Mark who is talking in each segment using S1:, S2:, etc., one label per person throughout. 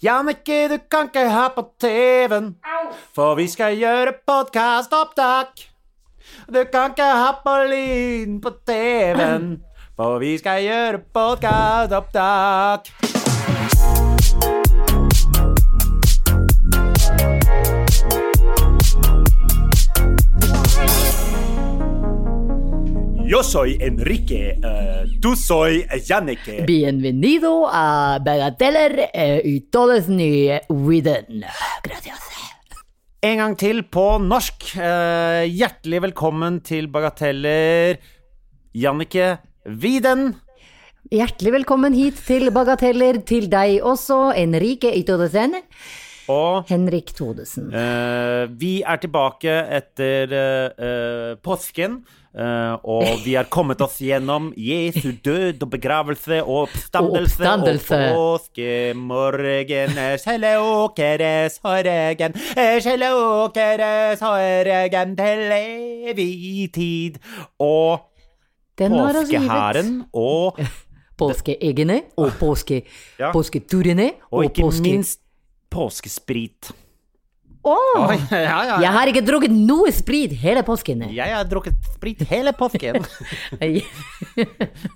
S1: Jannicke, du kan ikke ha på TV-en, for vi skal gjøre podkastopptak. Du kan ikke ha på lyden på TV-en, for vi skal gjøre podkastopptak.
S2: Yo soy Enrique, eh, tú soy Yannick.
S3: Bienvenido a Bagateller eh, y todos ni eh, Widen. Gracias.
S1: En gang til på norsk. Eh, hjertelig velkommen til Bagateller, Jannicke Widen.
S3: Hjertelig velkommen hit til Bagateller, til deg også, Enrique Itodesen.
S1: Og
S3: Henrik Todesen.
S1: eh, vi er tilbake etter eh, eh, påsken. eh, og vi har kommet oss gjennom Jesu død og begravelse og oppstandelse.
S3: Og oppstandelse.
S1: påskemorgen er skjelleåkeres håregen, er skjelleåkeres håregen til evig tid. Og
S3: Den har oss altså givet
S1: påskehæren og
S3: påskeeggene og påske,
S1: Ja.
S3: påsketurene
S1: Og
S3: og,
S1: ikke
S3: påske...
S1: minst påskesprit.
S3: Åh,
S1: ja, ja.
S3: jeg har ikke drukket noe sprit hele påsken.
S1: Jeg har drukket sprit hele påsken. Men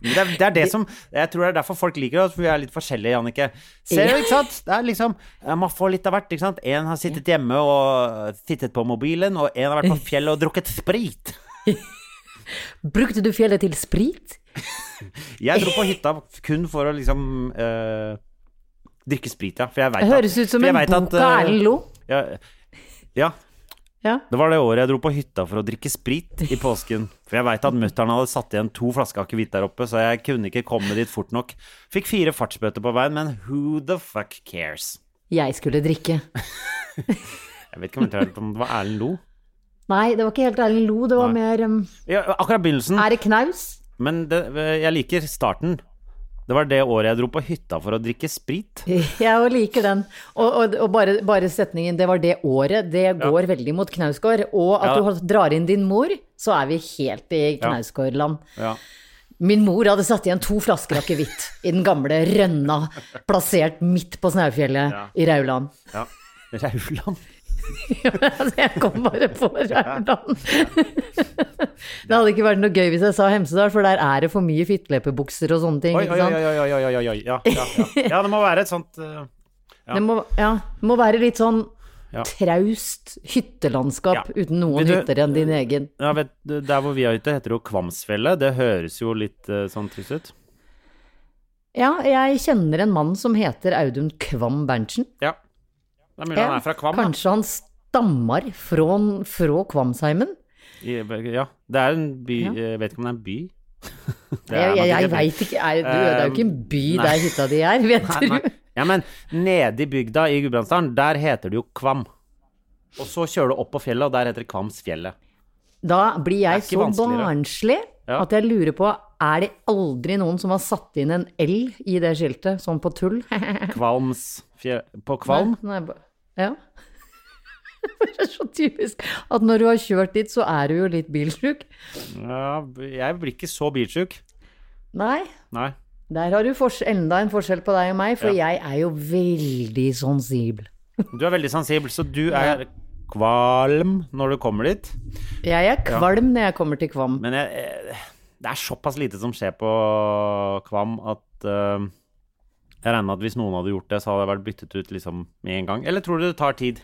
S1: det, er, det er det som Jeg tror det er derfor folk liker oss, for vi er litt forskjellige, Jannicke. Ser du, ikke sant? Det er liksom ja, Man får litt av hvert, ikke sant? En har sittet hjemme og tittet på mobilen, og en har vært på fjellet og drukket sprit.
S3: Brukte du fjellet til sprit?
S1: Jeg dro på hytta kun for å liksom eh, drikke sprit, ja. For jeg veit
S3: Det
S1: at
S3: høres ut som
S1: for jeg
S3: en
S1: vet at,
S3: bok av
S1: eh,
S3: Erlend Lo.
S1: Ja, ja,
S3: Ja.
S1: Det var det året jeg dro på hytta for å drikke sprit i påsken. For jeg veit at mutter'n hadde satt igjen to flasker akevitt der oppe, så jeg kunne ikke komme dit fort nok. Fikk fire fartsbøter på veien, men who the fuck cares?
S3: Jeg skulle drikke.
S1: Jeg vet ikke om det var- om det var Erlend Lo.
S3: Nei, det var ikke helt Erlend Lo, det var
S1: Nei.
S3: mer um,
S1: Ja, akkurat begynnelsen.
S3: Er det knaus?
S1: Men det, jeg liker starten. Det var det året jeg dro på hytta for å drikke sprit.
S3: Jeg også liker den. Og, og, og bare, bare setningen 'det var det året', det går veldig mot Knausgård. Og at
S1: Ja.
S3: du holdt- drar inn din mor, så er vi helt i
S1: Ja.
S3: Knausgårdland.
S1: Ja.
S3: Min mor hadde satt igjen to flasker akevitt i den gamle rønna, plassert midt på Snaufjellet
S1: Ja.
S3: i Rauland.
S1: ja. Rauland.
S3: Altså, jeg kom bare på Rauland. Det hadde ikke vært noe gøy hvis jeg sa Hemsedal, for der er det for mye fitteleppebukser og sånne ting.
S1: Oi,
S3: ikke
S1: oi,
S3: sant?
S1: oi, oi, oi, oi, oi, oi. Ja, ja, ja. ja, det må være et sånt eh,
S3: Det må, ja, det må være litt sånn
S1: Ja.
S3: traust hyttelandskap
S1: Ja.
S3: uten noen
S1: Vil du-
S3: hytter enn din egen.
S1: Ja, vet, du, Der hvor vi har hytte, heter det jo Kvamsfjellet. Det høres jo litt eh, sånn trist ut.
S3: Ja, jeg kjenner en mann som heter Audun Kvam Berntsen.
S1: Ja. Det er mulig han
S3: Ja,
S1: er fra Kvam. da.
S3: Kanskje han stammer fra, fra Kvamsheimen?
S1: I, ja. Det er en by
S3: Ja.
S1: Jeg vet ikke om det er en by. Det er
S3: Jeg, jeg,
S1: nok
S3: jeg
S1: ikke en by.
S3: veit ikke. Er, du, det er jo ikke en by
S1: Eh, nei.
S3: der hytta di er, vet
S1: Nei, nei.
S3: du.
S1: Ja, men nede i bygda i Gudbrandsdalen, der heter det jo Kvam. Og så kjører du opp på fjellet, og der heter det Kvamsfjellet.
S3: Da blir jeg
S1: Det er
S3: så
S1: ikke
S3: barnslig
S1: Ja.
S3: at jeg lurer på er det aldri noen som har satt inn en L i det skiltet, sånn på tull?
S1: Kvalmsfjell... På Kvalm?
S3: Nei, nei, ba- ja. Det er så typisk at når du har kjørt dit, så er du jo litt bilsjuk.
S1: Ja, jeg blir ikke så bilsjuk.
S3: Nei,
S1: Nei.
S3: der har du fors enda en forskjell på deg og meg, for jeg er jo veldig sensibel.
S1: Du er veldig sensibel, så du er kvalm når du kommer dit.
S3: Jeg er kvalm når jeg kommer til Kvam.
S1: Men jeg, eh, det er såpass lite som skjer på Kvam at eh, jeg regner med at hvis noen hadde gjort det, så hadde det vært byttet ut liksom med en gang. Eller tror du det tar tid?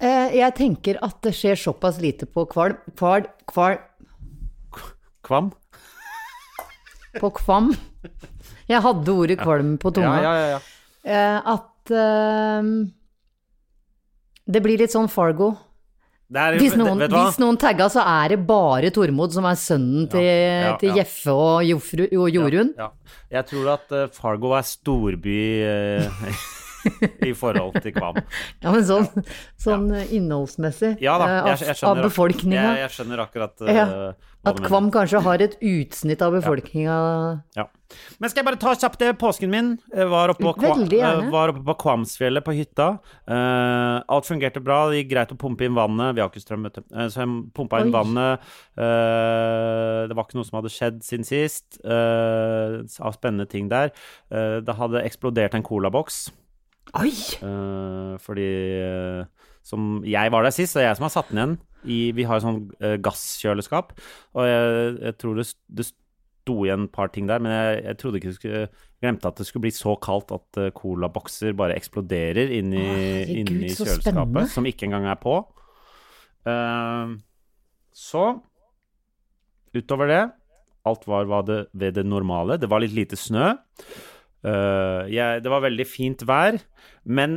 S3: Eh, Jeg tenker at det skjer såpass lite på kvalm, kval, kval,
S1: Kvam?
S3: på Kvam. Jeg hadde ordet kvalm på tunga.
S1: ja, ja.
S3: eh, at eh, det blir litt sånn Fargo.
S1: Det er,
S3: Hvis noen,
S1: vet du hva?
S3: hvis noen tagga, så er det bare Tormod som er sønnen til,
S1: ja,
S3: til
S1: ja.
S3: Jeffe og, Jofru, og Jorunn.
S1: Ja. Jeg tror at eh, Fargo er storby eh, i forhold til Kvam.
S3: Ja, men sånn, sånn eh, innholdsmessig
S1: Ja da,
S3: eh,
S1: jeg, jeg
S3: av, av
S1: skjønner. ak-
S3: befolkninga.
S1: Jeg, jeg skjønner akkurat eh,
S3: Ja.
S1: hva
S3: At
S1: du mener.
S3: Kvam kanskje har et utsnitt av befolkninga
S1: Ja. Men skal jeg bare ta kjapt det? Påsken min eh, var oppe på, Kva-
S3: Veldig gjerne.
S1: eh, var oppe på Kvamsfjellet, på hytta. Eh, alt fungerte bra. Det gikk greit å pumpe inn vannet. Vi har ikke strøm, vet du. Eh, så jeg pumpa inn
S3: Oi.
S1: vannet. Eh, det var ikke noe som hadde skjedd siden sist eh, av spennende ting der. Eh, det hadde eksplodert en colaboks.
S3: Oi!
S1: Eh, fordi eh, som jeg var der sist, det er jeg som har satt den igjen. I, vi har jo sånn eh, gasskjøleskap, og jeg, jeg tror det, s- det sto igjen et par ting der, men jeg, jeg trodde ikke det skulle Glemte at det skulle bli så kaldt at eh, colabokser bare eksploderer inni,
S3: Å, herregud,
S1: inni
S3: så
S1: kjøleskapet,
S3: spennende.
S1: som ikke engang er på. Eh, så utover det Alt var, var det, ved det normale. Det var litt lite snø. Eh, jeg, det var veldig fint vær, men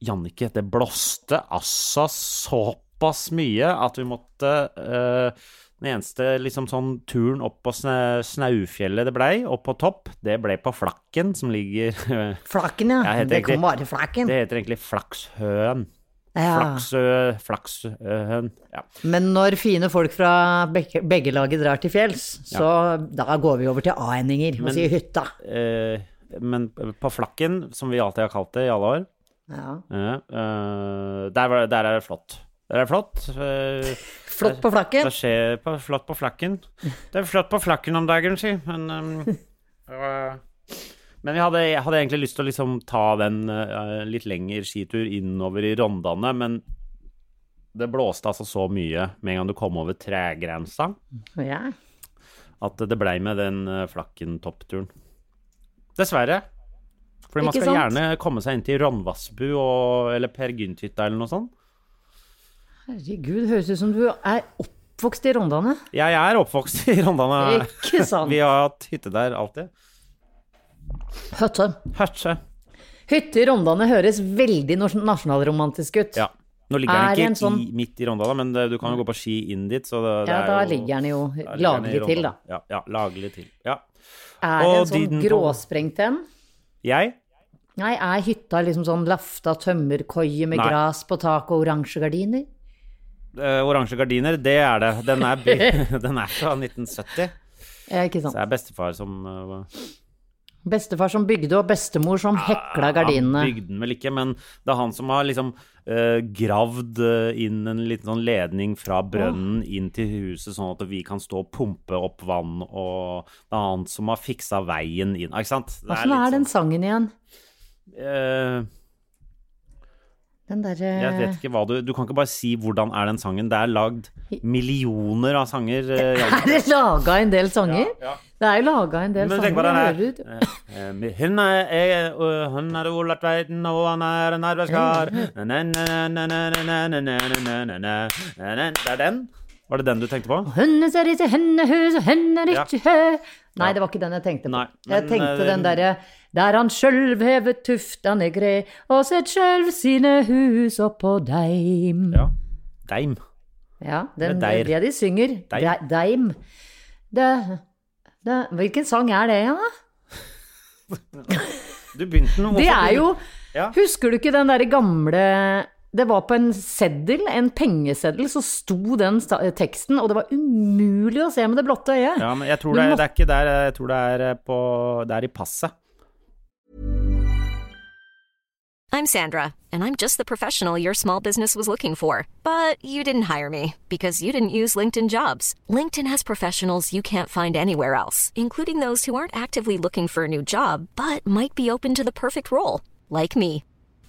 S1: Jannicke, det blåste altså såpass mye at vi måtte eh, Den eneste liksom sånn turen opp på sna, Snaufjellet det blei, opp på topp, det ble på Flakken, som ligger
S3: Flakken, ja.
S1: Ja, helt
S3: det
S1: riktig.
S3: kan være Flakken.
S1: Det heter egentlig Flakshøen.
S3: ja.
S1: Flaksø... Flakshøen. Ja.
S3: Men når fine folk fra begge, begge laget drar til fjells, så da går vi over til a-endinger og sier hytta.
S1: Eh, men på Flakken, som vi alltid har kalt det i alle år,
S3: Ja.
S1: ja, eh, der, var, der er det flott. Der er det flott. eh,
S3: Flott på Flakken.
S1: Det skjer på, flott på flakken. Det er flott på flakken om dagen, si. Men, um, øh, men jeg, hadde, jeg hadde egentlig lyst til å liksom ta den øh, litt lengre skitur innover i Rondane, men det blåste altså så mye med en gang du kom over tregrensa,
S3: Ja.
S1: at det blei med den øh, flakken-toppturen. Dessverre. Fordi man
S3: Ikke
S1: skal
S3: sant?
S1: gjerne komme seg inn til Rondvassbu og, eller Per Gynt-hytta eller noe sånt.
S3: Herregud, høres ut som du er oppvokst i Rondane.
S1: Jeg er oppvokst i Rondane.
S3: Ikke sant?
S1: Vi har hatt hytte der alltid.
S3: Høtte.
S1: Hørtse.
S3: Hytte i Rondane høres veldig nos- nasjonalromantisk ut.
S1: Ja. Nå ligger
S3: Er det
S1: den
S3: en
S1: ikke
S3: sånn-
S1: i, midt i Rondane, men det, du kan jo gå på ski inn dit, så det, det
S3: Ja,
S1: er
S3: da
S1: jo
S3: ligger den jo
S1: da ligger den i
S3: laglig til, da.
S1: Rondane. Ja, ja laglig til. Ja.
S3: Er det
S1: Og
S3: en sånn
S1: diden på-
S3: gråsprengt en?
S1: Jeg?
S3: Nei, er hytta liksom sånn lafta tømmerkoie med
S1: Nei.
S3: gras på taket og oransje gardiner?
S1: eh, Oransje gardiner, det er det. Den er, by, den er fra 1970.
S3: Ja,
S1: Så
S3: ikke sant.
S1: det er bestefar som eh,
S3: Bestefar som bygde, og bestemor som hekla
S1: Ah, Han
S3: gardinene.
S1: bygde den vel ikke, men det er han som har liksom eh, gravd eh, inn en liten sånn ledning fra brønnen inn til huset, sånn at vi kan stå og pumpe opp vann, og det er han som har fiksa veien inn. Ikke sant? Det
S3: Åssen
S1: litt
S3: er den sangen igjen?
S1: sånn, eh,
S3: Den eh, derre
S1: Jeg vet ikke hva du Du kan ikke bare si 'hvordan er den sangen'. Det er lagd millioner av sanger. eh,
S3: Er det laga en del sanger?
S1: ja.
S3: Det er jo laga en del
S1: Men
S3: sanger.
S1: tenk på den her.
S3: hører du-
S1: Eh, eh, Hun er, er, og hun er Olav Tveiten, og han er en arbeidskar. Na, na, na, na, na, na, na, na, na, na, na, na, na. Det er den? Var det den du tenkte på?
S3: Hønne ser ikke hennehus, og henne er
S1: Ja.
S3: ikke hø. Nei,
S1: Ja.
S3: det var ikke den jeg tenkte på.
S1: Nei,
S3: jeg
S1: men,
S3: tenkte
S1: eh,
S3: den derre Der han sjølv hever tuftane gre, og sett sjølv sine hus oppå deim. Ja,
S1: Ja. Deim.
S3: den, det
S1: Med deir.
S3: er det de synger.
S1: Deim.
S3: De- Deim. Det, det, hvilken sang er det igjen, da?
S1: Du begynte den.
S3: Det er jo
S1: Ja.
S3: Husker du ikke den derre gamle det var på en seddel, en pengeseddel, så sto den sta teksten, og det var umulig å se med det blotte øyet.
S1: Ja, men jeg tror
S3: Du
S1: det, er-
S3: må-
S1: det er ikke der. eh, Jeg tror det er eh, på Det er i passet.
S4: I'm Sandra, and I'm just the professional your small business was looking for. But you didn't hire me because you didn't use LinkedIn jobs. LinkedIn has professionals you can't find anywhere else, including those who aren't actively looking for a new job but might be open to the perfect role, like me.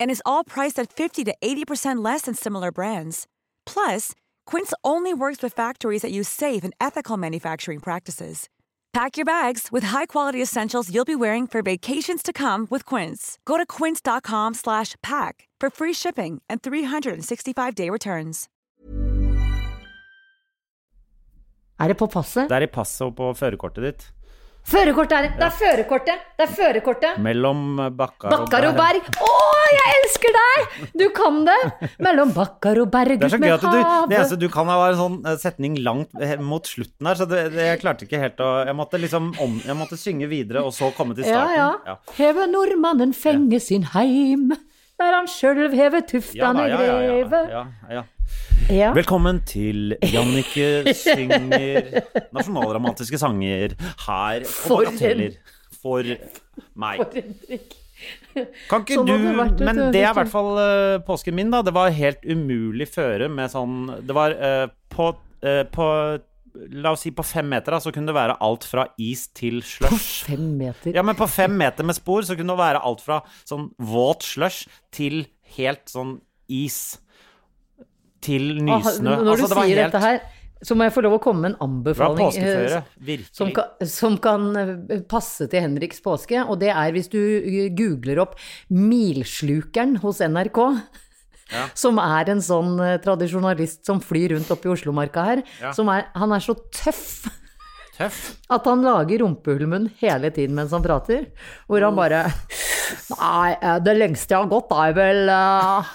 S5: And is all priced at 50 to 80% less than similar brands. Plus, Quince only works with factories that use safe and ethical manufacturing practices. Pack your bags with high-quality essentials you'll be wearing for vacations to come with Quince. Go to quince.com/pack slash pack for free shipping and 365-day returns.
S3: Er det på passet?
S1: Det er i passet og på førerkortet ditt.
S3: Førerkortet er det! Det er førerkortet! Det er førerkortet!
S1: Mellom bakkar og
S3: Bakkar og
S1: berg.
S3: berg. Å, jeg elsker deg! Du kan det! Mellom bakkar og berg
S1: Det er
S3: ut
S1: så gøy
S3: med
S1: at du, det eneste
S3: havet.
S1: du kan ha, var en sånn eh, setning langt eh, mot slutten her, så det, det, jeg klarte ikke helt å Jeg måtte liksom om, jeg måtte synge videre, og så komme til
S3: Ja,
S1: starten.
S3: ja.
S1: Ja.
S3: Heve nordmannen fenge sin heim, der han sjølv
S1: Ja,
S3: heve
S1: da,
S3: tuftane
S1: ja, ja, ja,
S3: greve.
S1: ja, ja.
S3: Ja.
S1: Velkommen til Jannicke synger nasjonaldramatiske sanger her på
S3: For en-
S1: Bagateller. For meg.
S3: For en drikk.
S1: Kan ikke
S3: Sånn
S1: du
S3: hadde det vært, vet
S1: Men
S3: du,
S1: det er i
S3: hvis du-
S1: hvert fall eh, påsken min, da. Det var helt umulig føre med sånn Det var eh, på, eh, på La oss si på fem meter, da, så kunne det være alt fra is til slush.
S3: Fem meter.
S1: Ja, men på fem meter med spor så kunne det være alt fra sånn våt slush til helt sånn is. Til
S3: Ah,
S1: nysnø.
S3: Når
S1: Altså,
S3: du
S1: det var
S3: sier
S1: helt-
S3: dette her, så må jeg få lov å komme med en
S1: Det var
S3: anbefaling.
S1: påskeføre.
S3: eh,
S1: Virkelig.
S3: Som kan, som kan eh, passe til Henriks påske, og det er hvis du eh, googler opp Milslukeren hos NRK. Som er en sånn eh, tradisjonalist som flyr rundt oppe i Oslomarka her.
S1: Ja.
S3: Som er, han er så tøff
S1: Tøff.
S3: at han lager rumpehullmunn hele tiden mens han prater. Hvor han bare Nei, eh, det lengste jeg har gått, er vel eh»,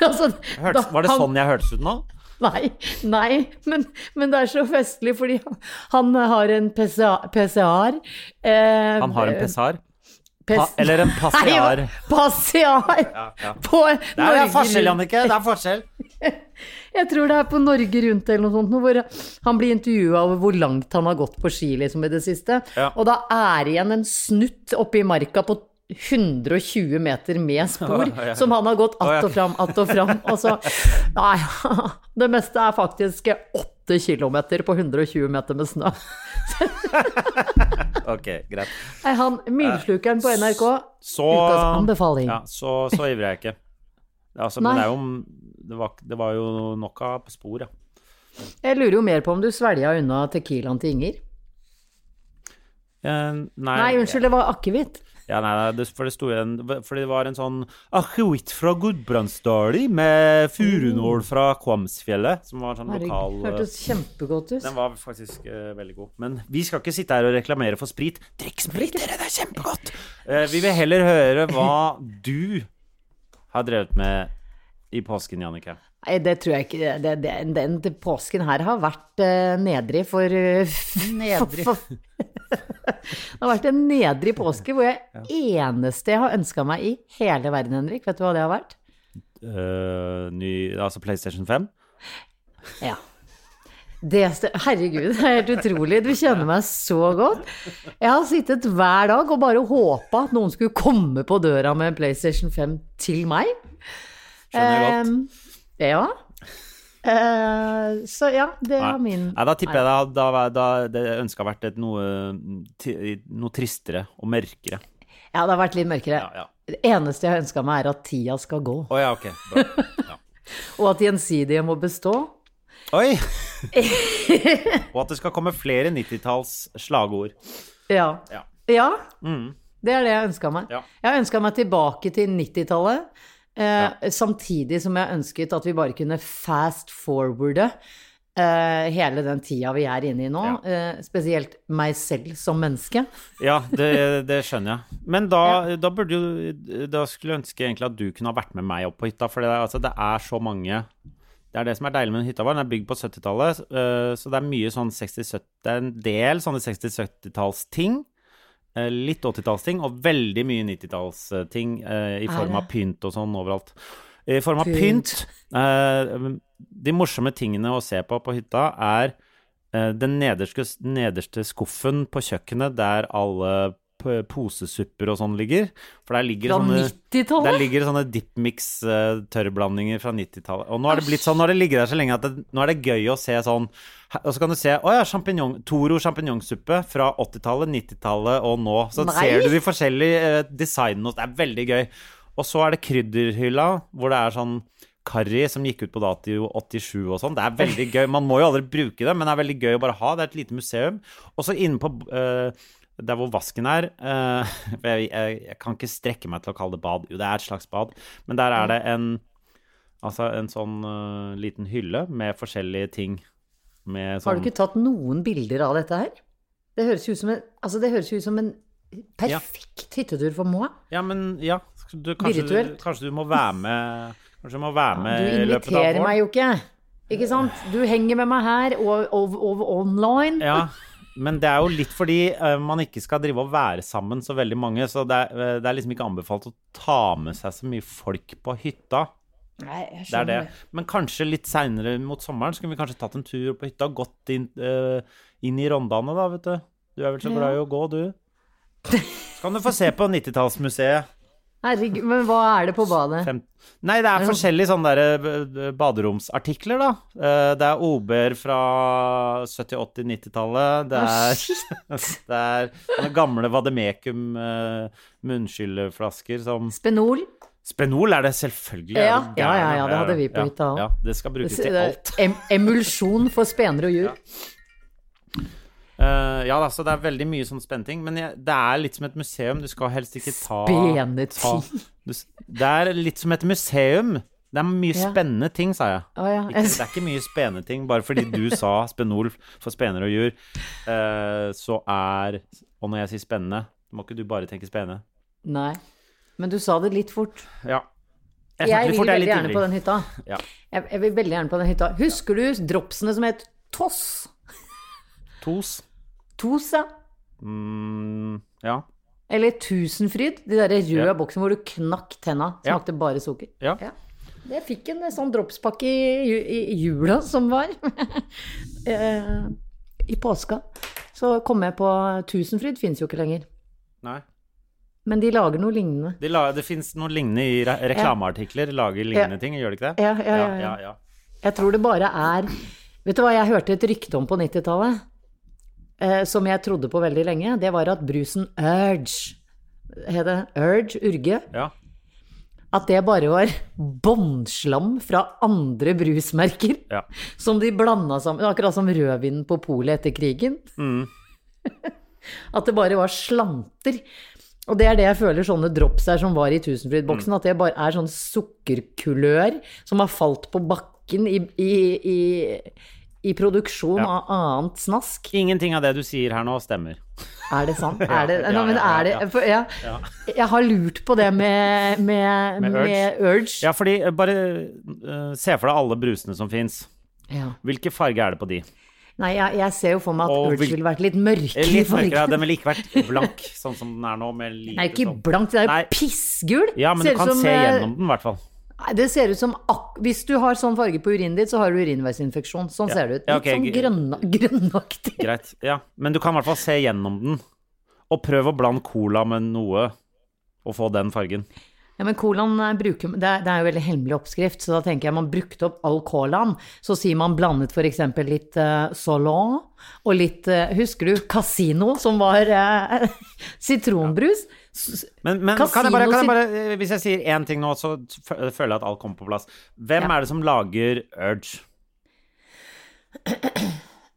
S3: altså,
S1: Hørtes,
S3: da-
S1: var det
S3: han-
S1: sånn jeg hørtes ut nå?
S3: Nei, nei men, men det er så festlig, fordi han, han har en PCA, PCA-er. Eh,
S1: Han har en pessar.
S3: pes-
S1: pa- eller en passiar.
S3: Nei, passiar på
S1: Det er forskjell,
S3: Rundt.
S1: Jannicke. Det er forskjell.
S3: Jeg tror det er på Norge Rundt eller noe sånt, nå, hvor han blir intervjua over hvor langt han har gått på ski liksom, i det siste.
S1: Ja.
S3: Og da er igjen en snutt oppe i marka på 120 meter med spor,
S1: Å, ja.
S3: som han har gått
S1: ja.
S3: att og fram, att og fram. Og så Nei, det meste er faktisk 8 km på 120 meter med snø.
S1: Ok, greit.
S3: Nei, han Myrslukeren på NRK,
S1: Så
S3: ukas anbefaling.
S1: Ja, så, så ivrer jeg ikke. Det er Altså, men det,
S3: Nei.
S1: er jo, det, var, det var jo nok av på spor, ja.
S3: Jeg lurer jo mer på om du svelga unna Tequilaen til Inger.
S1: Eh, nei,
S3: Nei, unnskyld, det var akevitt.
S1: Ja, nei, nei, det, for det sto igjen Fordi det var en sånn akevitt fra Gudbrandsdali med furunål fra Kvamsfjellet, som var en sånn lokal
S3: Mm.
S1: eh,
S3: Herregud, hørtes kjempegodt ut.
S1: Den var faktisk eh, veldig god. Men vi skal ikke sitte her og reklamere for sprit. Drikk sprit, dere! Det er kjempegodt! Eh, vi vil heller høre hva du har drevet med i påsken, Jannicke.
S3: Nei, det tror jeg ikke. Det, det, den, den påsken her har vært eh, nedrig for eh,
S1: Nedrig.
S3: for- for- det har vært en nedrig påske hvor jeg eneste jeg har ønska meg i hele verden, Henrik, vet du hva det har vært?
S1: Eh, ny, altså PlayStation 5?
S3: Ja. Det, st- herregud, det er helt utrolig. Du kjenner meg så godt. Jeg har sittet hver dag og bare håpa at noen skulle komme på døra med en PlayStation 5 til meg.
S1: Skjønner jeg godt.
S3: Eh, ja. Eh, så ja, det
S1: Nei.
S3: er min
S1: Nei, da tipper jeg det hadde da, det ønsket hadde vært et noe, ti- noe tristere og mørkere.
S3: Ja, det har vært litt mørkere.
S1: Ja, ja.
S3: Det eneste jeg har ønska meg, er at tida skal gå,
S1: Å ja, ok. Bra. Ja.
S3: og at gjensidige må bestå.
S1: Oi! Og at det skal komme flere 90-talls slagord.
S3: Ja.
S1: Ja. Mm.
S3: Ja, Det er det jeg ønska meg.
S1: Ja.
S3: Jeg har ønska meg tilbake til 90-tallet. Eh, Samtidig som jeg ønsket at vi bare kunne fast forwarde eh, hele den tida vi er inne i nå. Eh, spesielt meg selv som menneske.
S1: Ja, det, det skjønner jeg. Men da, da burde jo Da skulle jeg ønske egentlig at du kunne ha vært med meg opp på hytta, for det er, altså, det er så mange Det er det som er deilig med den hytta vår. Den er bygd på 70-tallet, eh, så det er mye sånn 60-70 Det er en del sånne 60-70-tallsting. eh, Litt 80-tallsting og veldig mye 90-tallsting eh, i form av pynt og sånn overalt. I form av pynt. eh, De morsomme tingene å se på på hytta er Eh, Den nederste, nederste skuffen på kjøkkenet der alle p- posesupper og sånn ligger. For der ligger
S3: Fra
S1: sånne
S3: 90-tallet?
S1: Der ligger sånne dipmix-tørrblandinger fra 90-tallet. Og nå er det blitt sånn, nå har det ligget der så lenge at det, nå er det gøy å se sånn her- Og så kan du se Å ja, champignon, Toro sjampinjongsuppe fra 80-tallet, 90-tallet og nå. Så
S3: Nei.
S1: ser du de forskjellige eh, designene, og det er veldig gøy. Og så er det krydderhylla, hvor det er sånn karri som gikk ut på dato 87 og sånn. Det er veldig gøy. Man må jo aldri bruke det, men det er veldig gøy å bare ha. Det er et lite museum. Og så inne på eh, der hvor vasken er eh, for jeg, jeg, jeg kan ikke strekke meg til å kalle det bad. Jo, det er et slags bad, men der er det en Altså en sånn eh, liten hylle med forskjellige ting. Med sånn
S3: Har du ikke tatt noen bilder av dette her? Det høres jo ut som en, altså det høres jo ut som en perfekt hyttetur for Moa.
S1: Ja, men ja. Du, kanskje, du,
S3: Virtuelt.
S1: kanskje du må være med Kanskje du må være
S3: Du
S1: med i løpet av
S3: inviterer
S1: våren.
S3: meg jo ikke. Ikke sant? Du henger med meg her og, og, og online.
S1: Ja, men det er jo litt fordi eh, man ikke skal drive og være sammen så veldig mange, så det er, eh, det er liksom ikke anbefalt å ta med seg så mye folk på hytta.
S3: Nei, jeg
S1: Det er det.
S3: skjønner det.
S1: Men kanskje litt seinere mot sommeren så kunne vi kanskje tatt en tur på hytta og gått inn, eh, inn i Rondane, da, vet du. Du er vel så glad i å gå, du. Så kan du få se på 90-tallsmuseet.
S3: Herregud, men hva er det på badet?
S1: Fem... Nei, det er forskjellige sånne der eh, baderomsartikler, da. Eh, Det er OB-er fra 70-, 80-, 90-tallet. Det
S3: Ah,
S1: er, det er sånne gamle Vademekum eh, munnskylflasker som
S3: Spenol.
S1: Spenol er det selvfølgelig. er
S3: Ja.
S1: du gæren?
S3: Ja, ja, ja, det hadde vi på hytta også.
S1: Ja, det skal brukes til alt.
S3: Em emulsjon for spener og jur.
S1: Eh, ja da, så det er veldig mye sånn spennende ting. Men jeg, det er litt som et museum. Du skal helst ikke ta
S3: Spennende
S1: ta-
S3: ting.
S1: Du s- Det er litt som et museum. Det er mye
S3: Ja.
S1: spennende ting, sa jeg.
S3: Å ja.
S1: Ikke, det er ikke mye spennende ting. Bare fordi du sa spenol for spener og jur, eh, så er Og når jeg sier spennende, må ikke du bare tenke spennende.
S3: Nei. Men du sa det litt fort.
S1: Ja. snakker
S3: Jeg,
S1: litt
S3: vil
S1: fort, jeg er
S3: veldig
S1: litt
S3: gjerne
S1: ivrig.
S3: på den hytta.
S1: Ja.
S3: Jeg, jeg vil veldig gjerne på den hytta. Husker du dropsene som het Toss?
S1: Tos.
S3: Tos, ja.
S1: Mm, ja.
S3: Eller Tusenfryd. De derre røde
S1: Ja.
S3: boksene hvor du knakk tenna.
S1: Ja.
S3: Smakte bare sukker.
S1: Ja.
S3: Ja. Jeg fikk en sånn dropspakke i, ju- i, i jula som var. eh, I påska. Så kom jeg på Tusenfryd fins jo ikke lenger.
S1: Nei.
S3: Men de lager noe lignende.
S1: De la, det fins noe lignende i re reklameartikler. Lager lignende
S3: Ja.
S1: ting, gjør det ikke det?
S3: Ja, ja, ja, ja. Jeg tror det bare er Vet du hva jeg hørte et rykte om på 90-tallet? Eh, som jeg trodde på veldig lenge. Det var at brusen Urge Het det Urge? Urge?
S1: ja.
S3: At det bare var båndslam fra andre brusmerker.
S1: Ja.
S3: Som de blanda sammen. Akkurat som rødvinen på polet etter krigen.
S1: Mm.
S3: at det bare var slanter. Og det er det jeg føler sånne drops er som var i Tusenfryd-boksen.
S1: Mm.
S3: At det bare er sånn sukkerkulør som har falt på bakken i, i, i, i produksjon
S1: Ja.
S3: av annet snask.
S1: Ingenting av det du sier her nå, stemmer.
S3: Er det sant? Er det,
S1: ja,
S3: Nei, men
S1: ja,
S3: er det
S1: ja.
S3: for jeg, jeg har lurt på det med, med,
S1: Med
S3: med,
S1: Urge?
S3: urge.
S1: Ja, fordi eh, bare eh, se for deg alle brusene som fins.
S3: Ja.
S1: Hvilke farge er det på de?
S3: Nei, jeg, jeg ser jo for meg at
S1: Og
S3: Urge
S1: vil-
S3: ville vært litt mørkere.
S1: Eh, Litt
S3: i fargen.
S1: mørkere, ja, den ville ikke vært blank, sånn som den er nå. Med lite
S3: Den er jo ikke
S1: sånn-
S3: blank, den er
S1: Nei.
S3: jo pissgul.
S1: Ja, men
S3: Ser
S1: du
S3: ut
S1: kan
S3: som,
S1: se
S3: eh,
S1: gjennom den, i hvert fall.
S3: Nei, det ser ut som ak Hvis du har sånn farge på urinen ditt, så har du urinveisinfeksjon. Sånn ser det ut. Litt
S1: Ja, ok,
S3: sånn
S1: gr-
S3: grønna, grønnaktig.
S1: Greit. Ja. Men du kan i hvert fall se gjennom den. Og prøv å blande cola med noe, og få den fargen.
S3: Ja, men colaen eh, bruker det er, det er jo veldig hemmelig oppskrift, så da tenker jeg man brukte opp all colaen. Så sier man blandet f.eks. litt uh, Solon og litt eh, Husker du Casino, som var eh, sitronbrus? S-
S1: Men, men kan jeg
S3: Casino
S1: bare, kan jeg
S3: sin-
S1: bare eh, Hvis jeg sier én ting nå, så f- føler jeg at alt kommer på plass. Hvem
S3: Ja.
S1: er det som lager Urge? Ok,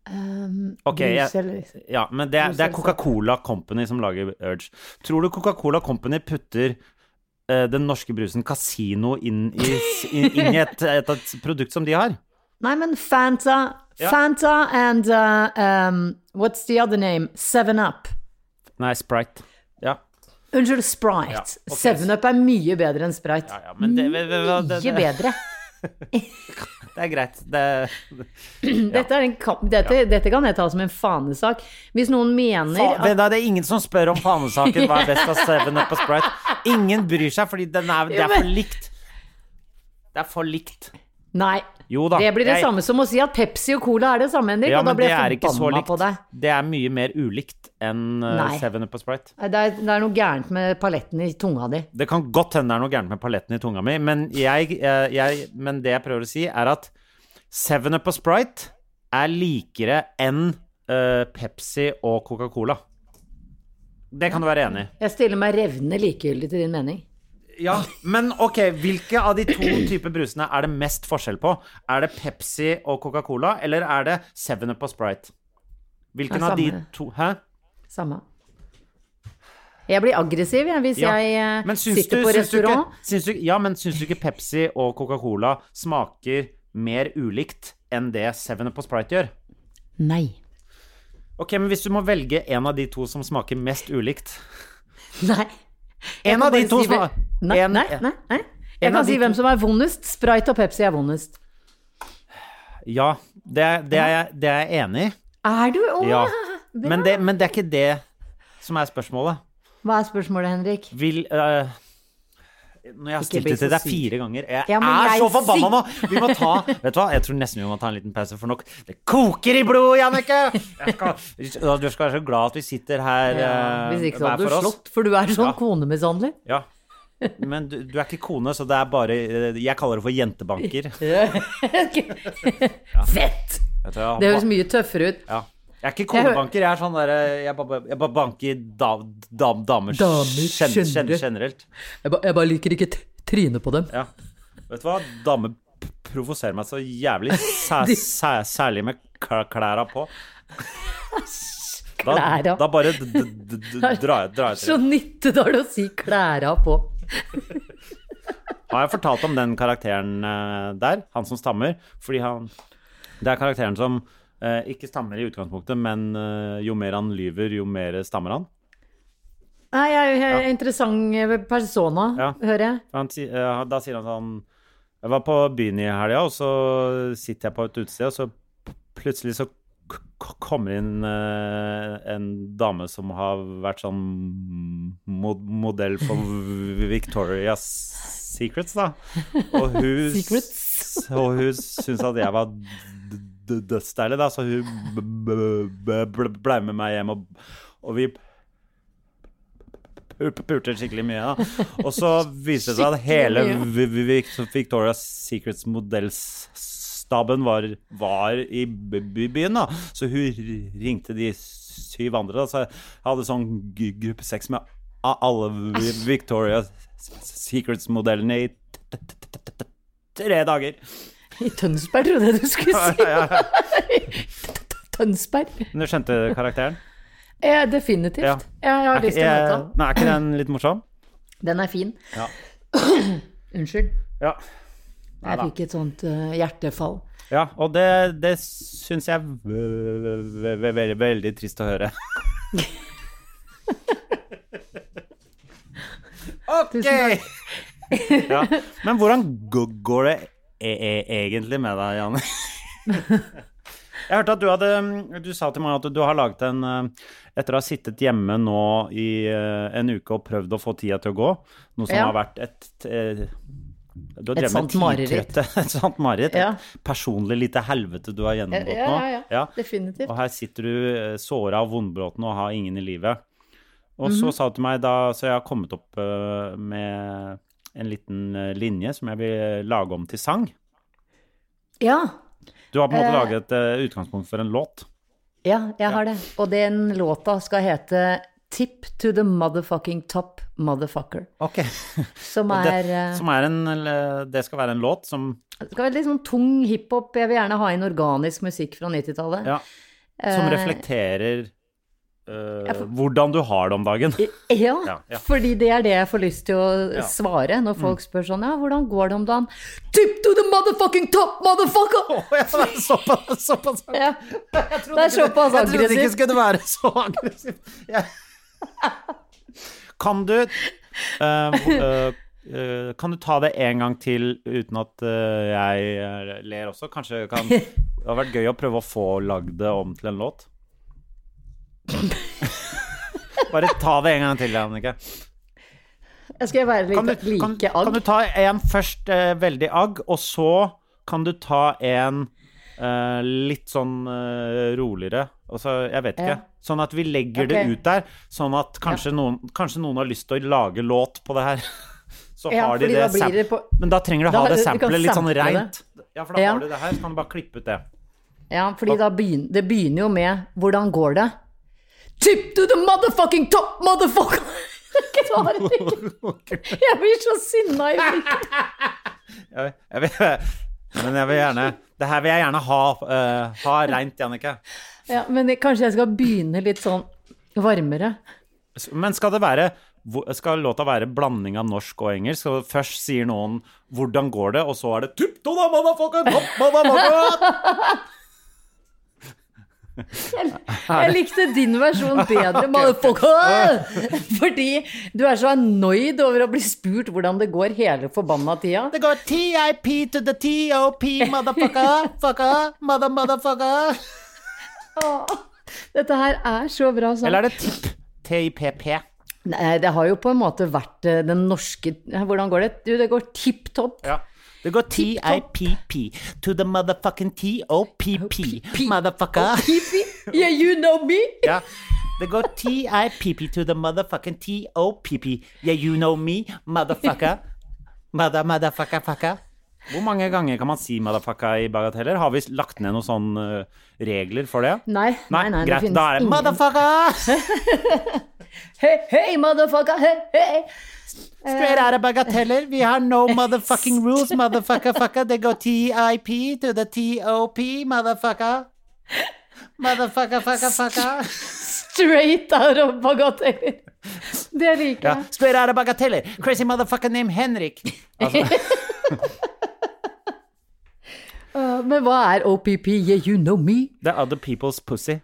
S3: Um, brus
S1: jeg,
S3: eller-
S1: ja, men det, er- det er Coca-Cola Company som lager Urge. Tror du Coca-Cola Company putter eh, den norske brusen Casino inn i, s- inn, inn i et, et, et produkt som de har?
S3: Nei, men Fanta
S1: Ja.
S3: Fanta and uh, um, What's the other name? Seven Up.
S1: Nei, Sprite. Ja,
S3: Unnskyld, Sprite.
S1: Ja, ok.
S3: Seven Up er mye bedre enn Sprite.
S1: ja, ja men det, det, det, det,
S3: Mye bedre.
S1: det er greit. Det,
S3: Dette, er en kamp, dette, dette kan jeg ta som en fanesak. Hvis noen mener
S1: faen, det,
S3: at
S1: det er ingen som spør om fanesaken hva er best av Seven Up og Sprite. Ingen bryr seg, fordi den er, det er for likt. Det er for likt.
S3: Nei.
S1: Jo da,
S3: det blir det
S1: jeg-
S3: samme som å si at Pepsi og Cola er det samme, Henrik.
S1: Ja,
S3: og da
S1: men
S3: blir
S1: det
S3: jeg
S1: er ikke så
S3: forbanna på
S1: likt.
S3: deg.
S1: Det er mye mer ulikt enn eh,
S3: Nei.
S1: Seven Up og Sprite.
S3: Nei, Det er, det er noe gærent med paletten i tunga di.
S1: Det kan godt hende det er noe gærent med paletten i tunga mi, men, jeg, eh, jeg, men det jeg prøver å si, er at Seven Up og Sprite er likere enn eh, Pepsi og Coca-Cola. Det kan du være enig i.
S3: Jeg stiller meg revnende likegyldig til din mening.
S1: Ja, men ok, hvilke av de to typer brusene er det mest forskjell på? Er det Pepsi og Coca-Cola, eller er det Seven Up og Sprite? Hvilken
S3: Det er
S1: av de
S3: samme.
S1: to Hæ?
S3: Samme. Jeg blir aggressiv jeg, hvis
S1: Ja.
S3: jeg eh,
S1: Men syns
S3: sitter
S1: du-
S3: på
S1: syns du ikke-
S3: restaurant.
S1: syns du, ja, men syns du ikke Pepsi og Coca-Cola smaker mer ulikt enn det Seven Up og Sprite gjør?
S3: Nei.
S1: Ok, men hvis du må velge en av de to som smaker mest ulikt
S3: Nei. Jeg
S1: En
S3: kan
S1: av de
S3: bare
S1: to
S3: si hvem-
S1: sma-
S3: Nei,
S1: en-
S3: nei, nei. nei. Jeg
S1: En av
S3: kan si
S1: de
S3: hvem
S1: to-
S3: som er vondest. Sprite og Pepsi er vondest.
S1: Ja, det, er- det, er, jeg- det er jeg enig i.
S3: Er du? Åh,
S1: Ja.
S3: bra.
S1: Men det, men det er ikke det som er spørsmålet.
S3: Hva er spørsmålet, Henrik?
S1: Vil øh, Når jeg har stilt
S3: bli
S1: det til
S3: så
S1: deg
S3: syk.
S1: fire ganger Jeg
S3: Ja, men
S1: er
S3: jeg
S1: så
S3: er
S1: forbanna nå!
S3: syk.
S1: Vi må ta Vet du hva, jeg tror nesten vi må ta en liten pause, for nok Det koker i blodet, Jannicke! Jeg skal- Du skal være så glad at vi sitter her
S3: Ja,
S1: øh,
S3: hvis ikke så
S1: hver
S3: hadde du
S1: for oss.
S3: slått, for du er sånn
S1: Ja.
S3: konemishandler.
S1: Ja. Men du, du er ikke kone, så det er bare øh, Jeg kaller det for jentebanker. Vet
S3: Fett!
S1: du, jeg,
S3: Det høres mye tøffere ut.
S1: ja. jeg er ikke konebanker, jeg er sånn derre Jeg bare jeg bare banker da, da, damer,
S3: Damer
S1: gen- gen-
S3: generelt.
S1: generelt.
S3: Jeg, ba, jeg bare liker ikke t- trynet på dem.
S1: Ja. Vet du hva? Damer p- provoserer meg så jævlig. Sæ, sæ, særlig med kl- klæra på. Da,
S3: Klæra.
S1: da bare d d d d drar jeg drar jeg
S3: Så
S1: til.
S3: Nittedal å si klæra på.
S1: Har jeg fortalt om den karakteren eh, der? Han som stammer? Fordi han Det er karakteren som eh, ikke stammer i utgangspunktet, men eh, jo mer han lyver, jo mer stammer han.
S3: Nei, jeg er jo en interessant persona,
S1: Ja.
S3: hører jeg.
S1: For Han, si- eh, da sier han sånn Jeg var på byen i helga, og så sitter jeg på et utested, og så p- plutselig så k- k- kommer inn eh, en dame som har vært sånn mod modell for Victoria's Secrets, da. Og hun,
S3: Secrets.
S1: og hun syntes at jeg var d- d- dødsdeilig, da, så hun b- b- b- blei med meg hjem, og, og vi pu- pulte skikkelig mye. Da. Og så viste det seg at hele Vi- Vi- Vi- Victoria's Secrets modellstaben var, var i by- by- byen, da. Så hun ringte de syv andre, da. Så jeg hadde sånn gu- gruppe seks med a- alle Vi- Victoria's Secrets-modellene i t- t- t- t- t- tre dager.
S3: I Tønsberg, trodde jeg du skulle si. Tønsberg.
S1: Men Du skjønte karakteren?
S3: Eh, definitivt.
S1: Ja.
S3: Jeg har
S1: Er ikke,
S3: lyst til å møte
S1: er,
S3: han.
S1: nei, er ikke den litt morsom?
S3: Den er fin.
S1: Ja.
S3: Unnskyld.
S1: Ja.
S3: Jeg fikk et sånt eh, hjertefall.
S1: Ja, og det, det syns jeg er ve- ve- veldig, veldig trist å høre. OK! Ja. Men hvordan g- går det e e egentlig med deg, Janne? Jeg hørte at du hadde Du sa til meg at du har laget en eh, Etter å ha sittet hjemme nå i eh, en uke og prøvd å få tida til å gå, noe som
S3: Ja.
S1: har vært et eh, du har
S3: Et
S1: drevet med
S3: sant mareritt.
S1: tidtrøtte- Et sant mareritt.
S3: Ja.
S1: Et personlig lite helvete du har gjennomgått
S3: Ja,
S1: nå.
S3: ja, ja. Definitivt.
S1: Og her sitter du såra og vondbråten og har ingen i livet. Og
S3: Mhm.
S1: så sa du til meg da Så jeg har kommet opp eh, med en liten eh, linje som jeg vil lage om til sang.
S3: Ja.
S1: Du har på en måte
S3: Eh.
S1: laget eh, utgangspunkt for en låt.
S3: ja, jeg har det. Og den låta skal hete Tip to the motherfucking top motherfucker.
S1: Ok.
S3: Som
S1: Og
S3: er,
S1: det,
S3: eh,
S1: som er en, eller, det skal være en låt som
S3: skal være litt sånn tung hiphop. Jeg vil gjerne ha inn organisk musikk fra 90-tallet.
S1: Ja. Som
S3: Eh,
S1: reflekterer eh, hvordan du har det om dagen.
S3: Ja,
S1: Ja, Mm. ja.
S3: fordi det er det jeg får lyst til å svare når folk spør sånn Ja, hvordan går det om dagen? Tip to the motherfucking top, motherfucker!
S1: Såpass, såpass
S3: Ja. Det er såpass
S1: Jeg trodde ikke det
S3: aggressivt.
S1: skulle være så aggressivt. Jeg- Kan du eh, hvor- eh, eh, Kan du ta det en gang til uten at eh, jeg eh, ler også? Kanskje kan Det hadde vært gøy å prøve å få lagd det om til en låt. Bare ta det en gang til, Annike.
S3: Jeg skal være
S1: Kan du,
S3: litt
S1: kan,
S3: like
S1: kan du
S3: agg.
S1: ta en først eh, veldig agg, og så kan du ta en eh, litt sånn eh, roligere? Og så, jeg vet ikke.
S3: Ja.
S1: Sånn at vi legger
S3: Ok.
S1: det ut der, sånn at kanskje, noen, kanskje noen har lyst til å lage låt på det her. Så
S3: Ja,
S1: har de
S3: fordi
S1: det,
S3: da blir
S1: sam-
S3: det på-
S1: Men da trenger du
S3: Da-
S1: ha det
S3: du kan
S1: samplet litt sånn
S3: sample det.
S1: reint. Ja, for da
S3: Ja.
S1: har du det her, så kan du bare klippe ut det.
S3: Ja, fordi da begyn, det begynner jo med Hvordan går det? Tip to the motherfucking top, motherfucker! Klarer ikke. Jeg blir så sinna i blikket.
S1: Jeg, jeg, vil- men jeg vil gjerne Det her vil jeg gjerne ha, eh, ha reint, Jannicke.
S3: Ja, men jeg, kanskje jeg skal begynne litt sånn varmere.
S1: S- Men skal det være hvor- Skal låta være blanding av norsk og engelsk? Så først sier noen 'hvordan går det', og så er det «Tup, do, da, motherfucker, tup, motherfucker!»
S3: Jeg likte din versjon bedre, motherfucker! Fordi du er så annoyed over å bli spurt hvordan det går hele forbanna tida.
S1: Det går TIP to the TOP, motherfucker, fucker, mother, motherfucker.
S3: Dette her er så bra sang.
S1: Eller er det TIP? TIPP.
S3: Nei, det har jo på en måte vært eh, den norske Hvordan går det? Du, det går tipp topp.
S1: Ja. Det går TIPP to the motherfucking TOPP, motherfucker.
S3: Yeah, you know me!
S1: Ja. Det går TIPP to the motherfucking TOPP. Yeah, you know me, motherfucker. Mother, motherfucker, fucker. Hvor mange ganger kan man si motherfucker i bagateller? Har vi lagt ned noen sånne eh, regler for det?
S3: Nei, nei, nei, det
S1: greit.
S3: finnes
S1: da er det
S3: ingen-
S1: motherfucker!
S3: Hey, hey, motherfucker! Hey, hey!
S1: Straight out of bagateller. We har no motherfucking rules, motherfucker, fucker. Det går TIP to the TOP, motherfucker. Motherfucker, fucker, fucker.
S3: Straight out of bagateller. Det liker
S1: Ja.
S3: jeg.
S1: Straight out of bagateller. Crazy motherfucker named Henrik.
S3: Uh, Men hva er OPP? Yeah, you know me?
S1: The other people's pussy.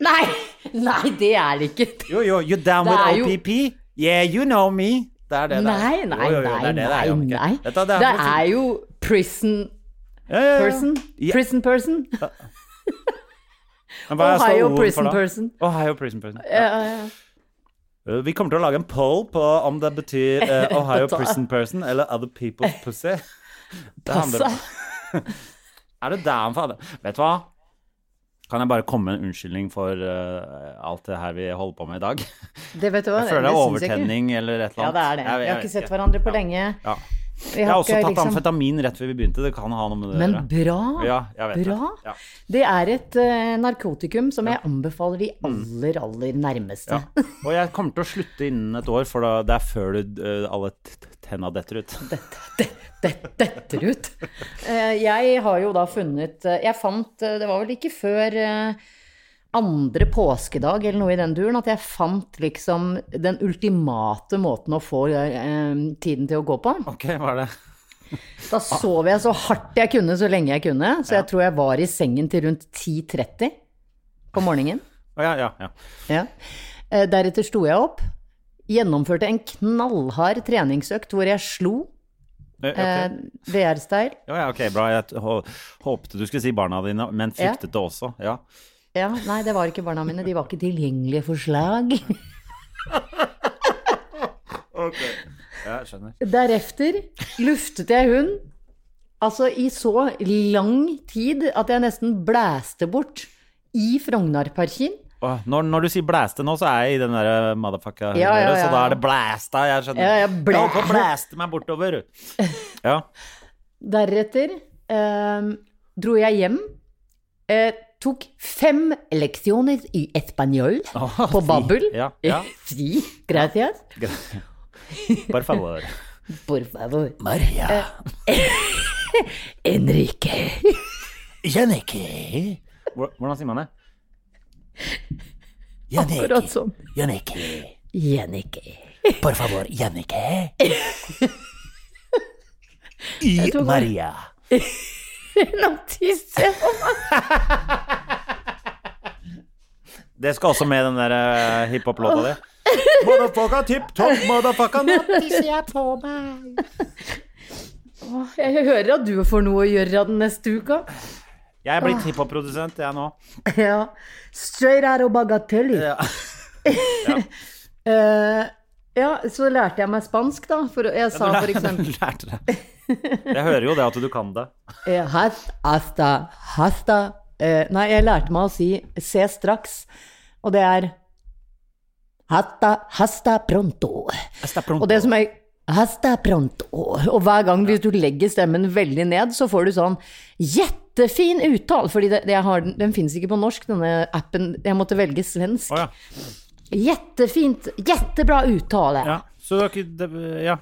S3: Nei! Nei, det er det ikke.
S1: Jo, jo, you down
S3: Det
S1: with
S3: er jo-
S1: OPP? Yeah, you know me. Det er det det er.
S3: Nei, nei,
S1: Jo, jo, jo, det
S3: nei,
S1: er det det er,
S3: nei,
S1: Jannicke.
S3: nei.
S1: Dette, det er,
S3: Det er jo prison
S1: Ja, ja, ja.
S3: person.
S1: Ja.
S3: Prison person.
S1: Men hva er
S3: Ohio
S1: ståordet for
S3: prison
S1: da?
S3: person.
S1: Ohio prison person.
S3: Ja, ja, ja.
S1: Uh, Vi kommer til å lage en poll på om det betyr eh, Ohio
S3: Da-
S1: prison person eller other people's pussy. Det handler om-
S3: Passe.
S1: Er det der han fader? Vet du hva? Kan jeg bare komme med en unnskyldning for eh, alt det her vi holder på med i dag?
S3: Det vet du hva,
S1: Jeg føler det er
S3: syns jeg ikke.
S1: overtenning eller et eller annet.
S3: Ja, det er det.
S1: Jeg-
S3: Vi
S1: jeg
S3: har ikke
S1: vet
S3: sett hverandre på lenge.
S1: Ja.
S3: Vi
S1: Jeg har også
S3: ikke,
S1: tatt
S3: liksom-
S1: amfetamin rett før vi begynte. Det kan ha noe med det å
S3: Men
S1: gjøre.
S3: bra.
S1: Ja, jeg vet
S3: bra.
S1: det. Ja.
S3: Det er et eh, narkotikum som jeg anbefaler
S1: Mm.
S3: de aller, aller nærmeste.
S1: Og jeg kommer til å slutte innen et år, for da, det er før du, eh, alle t- t- tenna detter ut.
S3: det detter ut. Eh, Jeg har jo da funnet eh, Jeg fant eh, Det var vel ikke før eh, andre påskedag eller noe i den duren at jeg fant liksom den ultimate måten å få eh, tiden til å gå på.
S1: Ok, hva er det?
S3: Da sov jeg så hardt jeg kunne så lenge jeg kunne, så jeg tror jeg var i sengen til rundt 10.30 på morgenen.
S1: Å ja, ja, ja.
S3: Ja. Eh, Deretter sto jeg opp, gjennomførte en knallhard treningsøkt hvor jeg slo
S1: Eh,
S3: eh,
S1: ok.
S3: VR-style.
S1: Ja, ja, ok, bra. Jeg t- hå- håpte du skulle si barna dine, men fryktet det også. Ja.
S3: Ja, nei, det var ikke barna mine. De var ikke tilgjengelige for slag.
S1: Jeg skjønner.
S3: Deretter luftet jeg hund, altså i så lang tid at jeg nesten blæste bort i Frognerparken.
S1: Åh, når, når du sier blæste nå, så er jeg i den der eh, motherfucka
S3: Ja, ja,
S1: så
S3: ja.
S1: da er det blæsta. Jeg skjønner.
S3: Ja, ja, blæ-
S1: Jeg holdt på å blæste meg bortover. Ja.
S3: Deretter eh, dro jeg hjem, eh, tok fem leksjoner i espanjol
S1: Åh,
S3: på
S1: si.
S3: Babbel.
S1: Ja, ja.
S3: Si, gracias.
S1: Bare favor.
S3: Por favor. Eh,
S1: Maria.
S3: Enrique.
S1: Jannicke. Hvor- Hvordan sier man det?
S3: Akkurat sånn.
S1: Jannicke.
S3: Jannicke.
S1: Por favor, Jannicke.
S3: Jeg tok-
S1: Maria.
S3: Nå tisser jeg på meg.
S1: Det skal også med den der eh, hiphop-låta di. Motherfucka tipp topp, motherfucka nattis, jeg på meg.
S3: Åh, Jeg hører at du får noe å gjøre den neste uka.
S1: Jeg er blitt hiphop-produsent, jeg nå.
S3: Ja. Straight out of bagateller.
S1: Ja.
S3: Eh, ja, så lærte jeg meg spansk, da. For jeg sa for eksempel
S1: Lærte det. Jeg hører jo det at du kan det.
S3: eh, has, hasta, hasta. Eh, nei, jeg lærte meg å si 'se straks', og det er hasta, hasta pronto. Og det som er Hasta pronto. Og hver gang hvis du legger stemmen veldig ned, så får du sånn jettefin uttale. Fordi det, det jeg har, den, den finnes ikke på norsk, denne appen. Jeg måtte velge svensk.
S1: Å ja.
S3: Jättefint, jättebra uttale.
S1: Ja, så det, var ikke- det, ja.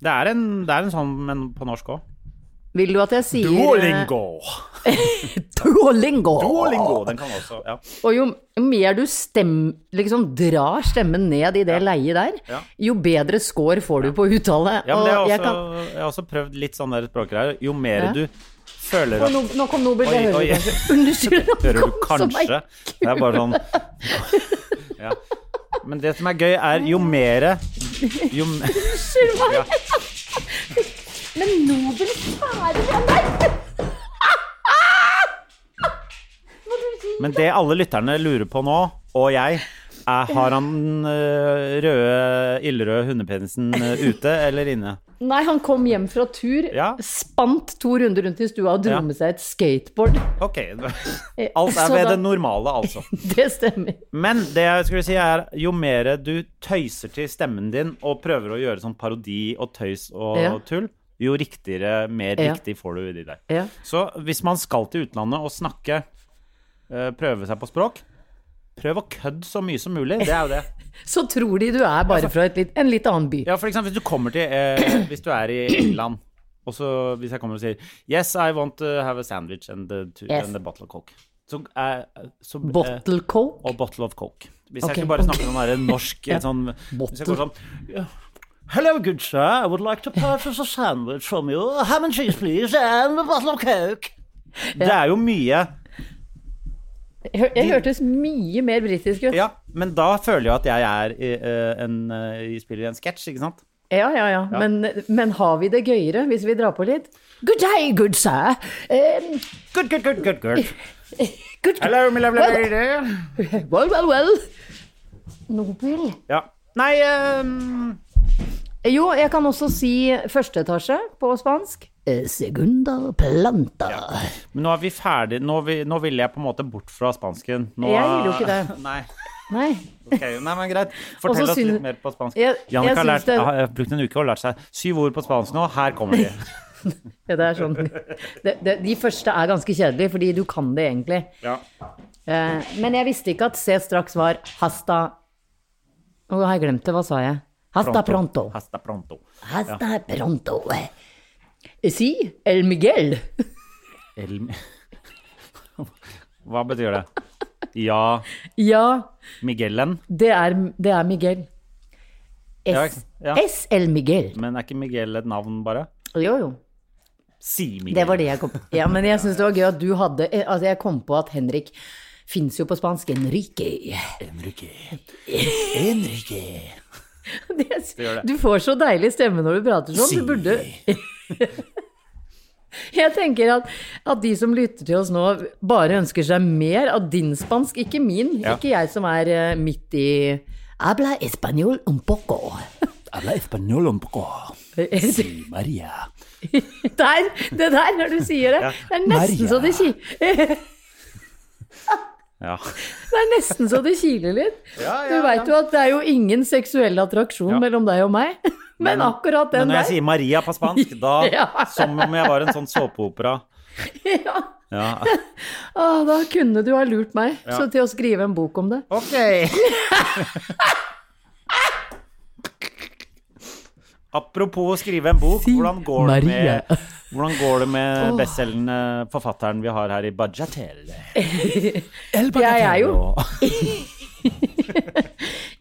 S1: det, er en, det er en sånn men på norsk òg.
S3: Vill du at jeg sier eh,
S2: Duolingo.
S3: Duolingo.
S1: Duolingo, den kan også. Ja.
S3: Og jo mer du stem, liksom drar stemmen ned i det leiet der,
S1: Ja.
S3: jo bedre score får du på uttale.
S1: Ja, men det
S3: Og
S1: har
S3: jeg
S1: jeg,
S3: kan-
S1: også, jeg har også prøvd litt sånn der språkgreier. Jo mer
S3: Ja.
S1: du føler at
S3: Oi, nå, nå kom Nobel, det
S1: Oi,
S3: hører
S1: oi.
S3: du kanskje. Unnskyld, nå
S1: Hører du
S3: kom som ei-
S1: kanskje? Det er bare sånn ja. Men det som er gøy, er jo mere jo,
S3: Unnskyld meg. Men Nobel, kjære venner!
S1: Men det alle lytterne lurer på nå, og jeg, er har han den eh, røde, ildrøde hundepenisen eh, ute eller inne?
S3: Nei, han kom hjem fra tur,
S1: Ja.
S3: spant to runder rundt i stua og
S1: Ja.
S3: dro med seg et skateboard.
S1: Ok. Alt
S3: Eh, Så
S1: er ved
S3: da-
S1: det normale, altså.
S3: Det stemmer.
S1: Men det jeg skulle si er, jo mer du tøyser til stemmen din og prøver å gjøre sånn parodi og tøys og
S3: Ja.
S1: tull, jo riktigere, mer
S3: Ja.
S1: riktig får du de der.
S3: Ja.
S1: Så hvis man skal til utlandet og snakke, eh, prøve seg på språk, prøv å kødde så mye som mulig. Det er jo det.
S3: Så tror de du er bare fra et litt, en litt annen by.
S1: Ja, for eksempel hvis du kommer til eh, Hvis du er i England, og så hvis jeg kommer og sier Yes, I want to have a sandwich and a, to,
S3: Yes.
S1: and a bottle of coke. Så, eh, så, eh,
S3: Bottle coke.
S1: og bottle of coke. Hvis
S3: Ok.
S1: jeg skulle bare snakke om den norsk
S3: Ja.
S1: sånn, Hvis jeg går
S3: Bottle.
S1: sånn «Yeah. Hello, good sir. I would like to purchase a sandwich from you. Ham and cheese, please, and a bottle of coke. Det er jo mye.
S3: Jeg, jeg hørtes mye mer britisk ut.
S1: Ja, men da føler jeg at jeg er i, eh, en, eh, jeg spiller i en sketsj, ikke sant?
S3: Ja, ja, ja. Men, men har vi det gøyere hvis vi drar på litt? Good day, good sir. Um,
S1: Good, good, good, good, good.
S3: good
S1: Hello, my lovely
S3: Well-
S1: lady.
S3: Well, well, well. Nobel.
S1: Ja. Nei ehm,
S3: Jo, jeg kan også si første etasje på spansk. Eh, Segunda planta.
S1: Men nå er vi ferdig. Nå, vi, nå ville jeg på en måte bort fra spansken. Nå,
S3: Jeg ville jo ikke det.
S1: Nei.
S3: Nei.
S1: Ok, nei, men greit. Fortell
S3: så
S1: oss
S3: syns-
S1: litt mer på spansk.
S3: Jeg- jeg
S1: Jannicke har,
S3: syns
S1: lært-
S3: det-
S1: har brukt en uke og lært seg syv ord på spansk nå. Her kommer de.
S3: Ja, det er sånn. Det, det, de første er ganske kjedelige, fordi du kan det egentlig.
S1: Ja.
S3: Eh, men jeg visste ikke at se straks var hasta Å, har jeg glemt det? Hva sa jeg? Hasta pronto.
S1: Hasta pronto.
S3: Hasta pronto. Si el Miguel.
S1: El... Hva betyr det? Ja,
S3: Ja,
S1: Miguelen.
S3: det er, det er Miguel. Es,
S1: Ja, ja.
S3: es el Miguel.
S1: Men er ikke Miguel et navn, bare?
S3: Jo, jo.
S1: Si Miguel.
S3: Det var det jeg kom på. Ja, men jeg syns det var gøy at du hadde eh, Altså, jeg kom på at Henrik fins jo på spansk. Enrique. Enrique.
S1: gjør det.
S3: Du får så deilig stemme når du prater sånn. Du burde Jeg tenker at, at de som lytter til oss nå, bare ønsker seg mer av din spansk, ikke min.
S1: Ja.
S3: Ikke jeg som er eh, midt i Habla español un poco.
S2: Habla español un poco.
S3: Der!
S2: Maria.
S3: Det der, når du sier det. Det er nesten så det kiler.
S1: Ja.
S3: Det er nesten så det kiler litt. du veit jo at det er jo ingen seksuell attraksjon mellom deg og meg, men, akkurat
S1: Men
S3: den
S1: når
S3: der
S1: jeg sier Maria på spansk, da
S3: Ja.
S1: som om jeg var en sånn såpeopera.
S3: ja.
S1: Ja.
S3: Å, Da kunne du ha lurt meg så til å skrive en bok om det.
S1: Ok. Apropos å skrive en bok, hvordan går det med, hvordan går det med bestselgende forfatteren vi har her i Bajatel?
S3: Jeg er jo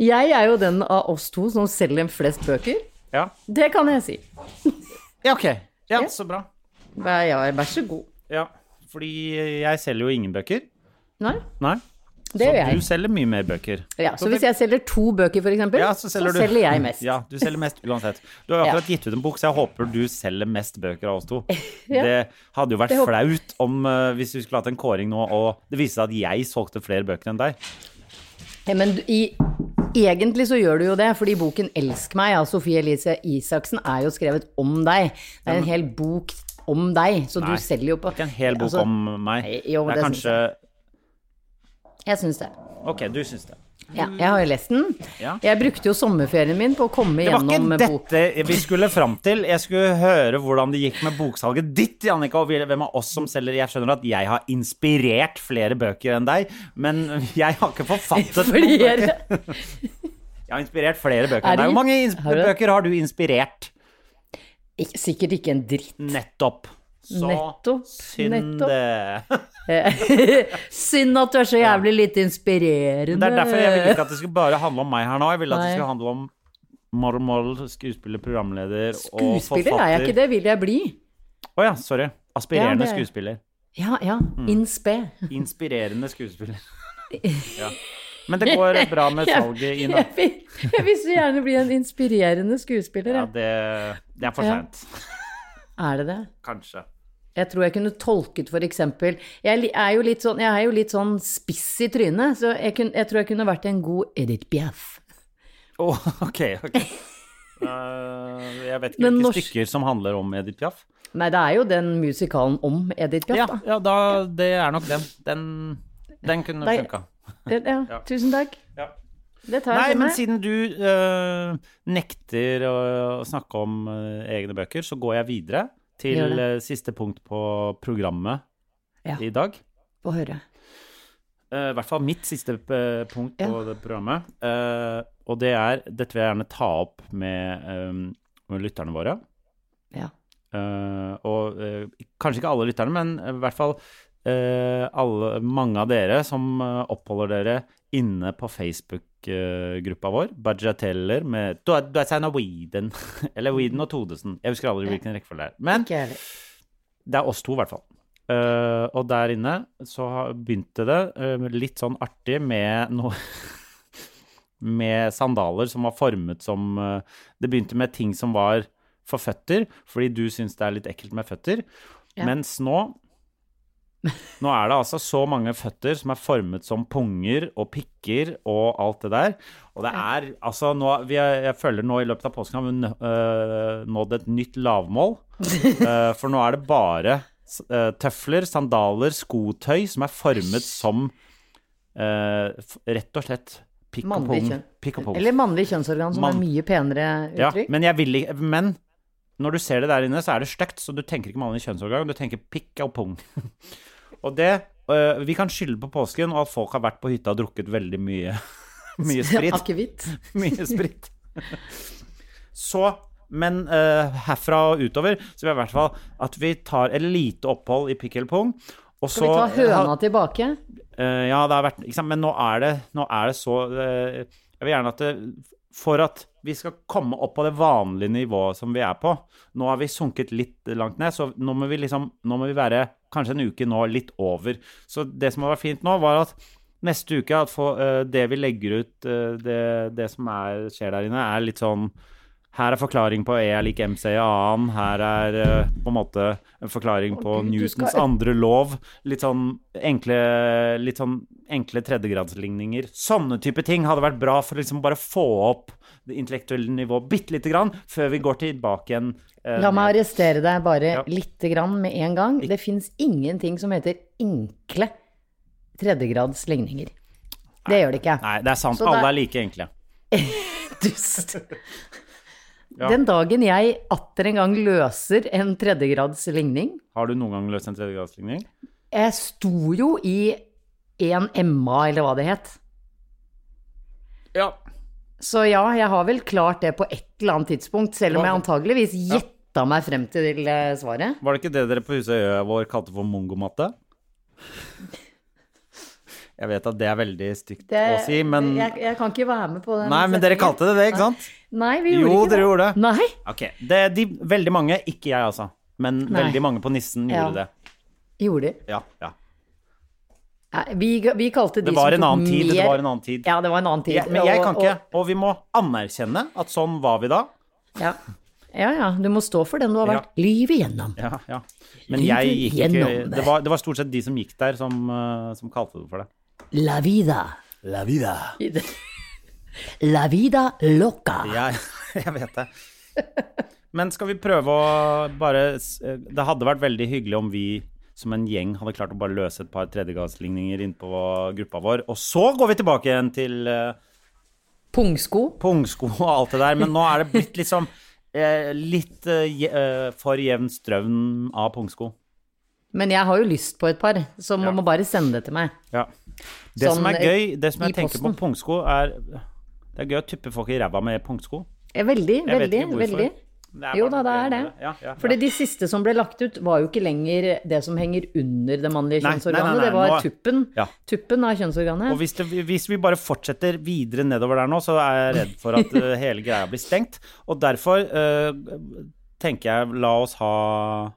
S3: Jeg er jo den av oss to som selger flest bøker.
S1: Ja.
S3: Det kan jeg si.
S1: ja, ok. Ja, så bra.
S3: Vær, ja, vær så god.
S1: Ja, fordi jeg selger jo ingen bøker.
S3: Nei,
S1: Nei.
S3: det gjør
S1: Du
S3: jeg.
S1: selger mye mer bøker.
S3: Ja, så hvis jeg selger to bøker, for eksempel,
S1: Ja,
S3: så,
S1: så selger du.
S3: selger jeg mest.
S1: Ja, du selger mest uansett. Du har jo akkurat gitt ut en bok, så jeg håper du selger mest bøker av oss to. Det hadde jo vært
S3: Det håper-
S1: flaut om, eh, hvis vi skulle hatt en kåring nå, og det viste seg at jeg solgte flere bøker enn deg.
S3: Ja, Men du- i, egentlig så gjør du jo det, fordi boken 'Elsk meg' av Sofie Elise Isaksen er jo skrevet om deg. Det er en hel bok om deg, så
S1: Nei,
S3: du selger jo på
S1: Ikke en hel bok
S3: altså,
S1: om meg.
S3: jo,
S1: det er
S3: det syns
S1: kanskje
S3: Jeg syns det.
S1: Ok, du syns det.
S3: Ja, jeg har jo lest den.
S1: Ja.
S3: Jeg brukte jo sommerferien min på å komme
S1: Det var
S3: gjennom
S1: ikke
S3: bok.
S1: dette vi skulle fram til. Jeg skulle høre hvordan det gikk med boksalget ditt, Jannika, og hvem av oss som selger. Jeg skjønner at jeg har inspirert flere bøker enn deg, men jeg har ikke forfattet noen bøker.
S3: Flere.
S1: Jeg har inspirert flere bøker
S3: Er
S1: enn
S3: det-
S1: deg. Hvor mange ins-
S3: Har du det?
S1: bøker har du inspirert?
S3: Ik- Sikkert ikke en dritt.
S1: Nettopp. Så
S3: Nettopp,
S1: synd
S3: nettopp.
S1: det.
S3: Synd at du er så jævlig lite inspirerende.
S1: Det er derfor jeg ville ikke at det skulle bare handle om meg her nå. Jeg ville at det
S3: Nei.
S1: skulle handle om Mormol, skuespiller, programleder og forfatter.
S3: Skuespiller er jeg ikke, det vil jeg bli.
S1: Å ja, sorry. Aspirerende
S3: Ja, det-
S1: skuespiller.
S3: Ja, ja.
S1: Mm.
S3: In spe.
S1: Inspirerende skuespiller. Ja. Men det går bra med salget i
S3: Jeg
S1: natt.
S3: vil, jeg vil så gjerne bli en inspirerende skuespiller.
S1: Ja,
S3: jeg.
S1: det, det er for
S3: Ja.
S1: seint.
S3: Er det det?
S1: Kanskje.
S3: Jeg tror jeg kunne tolket for eksempel Jeg li- er jo litt sånn, jeg er jo litt sånn spiss i trynet, så jeg, kun, jeg tror jeg kunne vært en god Edith Piaf.
S1: Å, ok, ok. Eh, jeg vet ikke
S3: Men
S1: hvilke
S3: norsk-
S1: stykker som handler om Edith Piaf.
S3: Nei, det er jo den musikalen om Edith Piaf,
S1: Ja,
S3: da.
S1: ja da, det er nok den. Den, den kunne
S3: Nei.
S1: funka.
S3: Det, ja, Tusen takk.
S1: Ja.
S3: Det tar
S1: Nei,
S3: jeg til
S1: men
S3: meg.
S1: siden du øh, nekter å, å snakke om øh, egne bøker, så går jeg videre til
S3: Gjør det.
S1: øh, siste punkt på programmet
S3: Ja.
S1: i dag.
S3: Få høre.
S1: Eh, I hvert fall mitt siste eh, punkt på
S3: Ja.
S1: det programmet. Eh, og det er Dette vil jeg gjerne ta opp med, eh, med lytterne våre.
S3: Ja.
S1: Eh, og eh, kanskje ikke alle lytterne, men i hvert fall eh, alle, mange av dere som eh, oppholder dere inne på Facebook-gruppa vår, Bajateller med Du er- du er Sanna Weeden. Eller Weeden og Todesen. Jeg husker aldri hvilken rekkefølge det er. Men
S3: Ikke jeg heller.
S1: det er oss to, i hvert fall. Eh, og der inne så har- begynte det eh, litt sånn artig med noe Med sandaler som var formet som eh, Det begynte med ting som var for føtter, fordi du syns det er litt ekkelt med føtter.
S3: Ja.
S1: Mens nå Nå er det altså så mange føtter som er formet som punger og pikker og alt det der. Og det er altså nå, vi er, Jeg føler nå i løpet av påsken har vi nå- øh, nådd et nytt lavmål. Eh, for nå er det bare s- eh, tøfler, sandaler, skotøy som er formet som eh, f- rett og slett pikk og
S3: Mannlig
S1: pung.
S3: kjønn.
S1: Pikk og pung.
S3: Eller mannlig kjønnsorgan, som
S1: Mann.
S3: er mye penere
S1: Ja,
S3: uttrykk.
S1: men jeg vil ikke Men når du ser det der inne, så er det stygt, så du tenker ikke mannlig kjønnsorgan, du tenker pikk og pung. og det øh, Vi kan skylde på påsken og at folk har vært på hytta og drukket veldig mye, mye sprit.
S3: Akevitt.
S1: mye sprit. så men eh, herfra og utover så vil jeg i hvert fall at vi tar et lite opphold i pikk eller pung. Og
S3: Skal vi ta
S1: så- øh,
S3: høna tilbake?
S1: Eh, ja, det har vært ikke sant? Men nå er det, nå er det så eh, Jeg vil gjerne at det, For at vi skal komme opp på det vanlige nivået som vi er på Nå har vi sunket litt langt ned, så nå må vi liksom Nå må vi være kanskje en uke nå litt over. Så det som har vært fint nå, var at neste uke at få, eh, Det vi legger ut, eh, det, det som er, skjer der inne, er litt sånn her er forklaring på E er lik MC i annen. Her er eh, på en måte en forklaring på
S3: Gud, du
S1: Newtons
S3: skal-
S1: andre lov. Litt sånn enkle, litt sånn enkle tredjegradsligninger. Sånne type ting hadde vært bra for å liksom bare få opp det intellektuelle nivået bitte lite grann, før vi går tilbake igjen. eh,
S3: La meg arrestere deg bare
S1: Ja.
S3: lite grann med en gang. Det fins ingenting som heter enkle tredjegrads ligninger. Det gjør det ikke.
S1: Nei, det er sant.
S3: Så det-
S1: Alle er like enkle.
S3: Dust. Den dagen jeg atter en gang løser en tredjegrads ligning
S1: Har du noen gang løst en tredjegradsligning?
S3: Jeg sto jo i en Emma, eller hva det het.
S1: Ja.
S3: Så ja, jeg har vel klart det på et eller annet tidspunkt, selv om jeg antageligvis gjetta meg frem til eh, svaret.
S1: Var det ikke det dere på Husøya vår kalte for mongomatte? Jeg vet at det er veldig stygt å si, men
S3: jeg, jeg kan ikke være med på den.
S1: Nei, men dere kalte det det, ikke sant?
S3: Nei, vi gjorde
S1: Jo,
S3: ikke
S1: dere gjorde det.
S3: Nei?
S1: Ok, det, de, Veldig mange, ikke jeg altså, men
S3: Nei.
S1: veldig mange på Nissen
S3: Ja.
S1: gjorde det.
S3: Gjorde de?
S1: Ja, ja.
S3: Nei, vi, vi kalte de
S1: Det var en
S3: som tok
S1: annen tid.
S3: mer-
S1: Det var en annen tid.
S3: Ja, det var en annen tid.
S1: Jeg, men jeg
S3: Og-
S1: kan ikke, og vi må anerkjenne at sånn var vi da.
S3: og- Ja. ja ja, du må stå for den du har
S1: Ja.
S3: vært livet igjennom.
S1: Ja, ja. Men
S3: Livet
S1: jeg gikk ikke
S3: gjennom det.
S1: det var, det var stort sett de som gikk der, som, eh, som kalte det for det.
S3: La vida. La vida loca.
S1: Jeg, jeg vet det. eh, Men skal vi prøve å bare s- Det hadde vært veldig hyggelig om vi som en gjeng hadde klart å bare løse et par tredjegradsligninger innpå gruppa vår. Og så går vi tilbake igjen til eh,
S3: Pungsko.
S1: pungsko og alt det der, men nå er det blitt liksom eh, litt eh, je- eh, for jevn strøm av pungsko.
S3: Men jeg har jo lyst på et par, så man
S1: Ja.
S3: må bare sende det til meg.
S1: Ja. Det
S3: Sånn,
S1: som er gøy, det som
S3: i
S1: jeg tenker på
S3: posten.
S1: pungsko, er Det er gøy å tuppe folk i ræva med pungsko.
S3: Eh,
S1: Jeg
S3: Veldig,
S1: vet
S3: veldig,
S1: ikke hvorfor.
S3: veldig.
S1: Det er
S3: Jo
S1: bare eh,
S3: da, det er det.
S1: Ja, ja, ja.
S3: Fordi de siste som ble lagt ut, var jo ikke lenger det som henger under det
S1: Nei, nei,
S3: mannlige
S1: nei,
S3: kjønnsorganet,
S1: nei,
S3: det var
S1: nå-
S3: tuppen.
S1: Ja.
S3: Tuppen av
S1: Og
S3: kjønnsorganet.
S1: hvis, det, hvis vi bare fortsetter videre nedover der nå, så er jeg redd for at eh, hele greia blir stengt. Og derfor eh, tenker jeg la oss ha,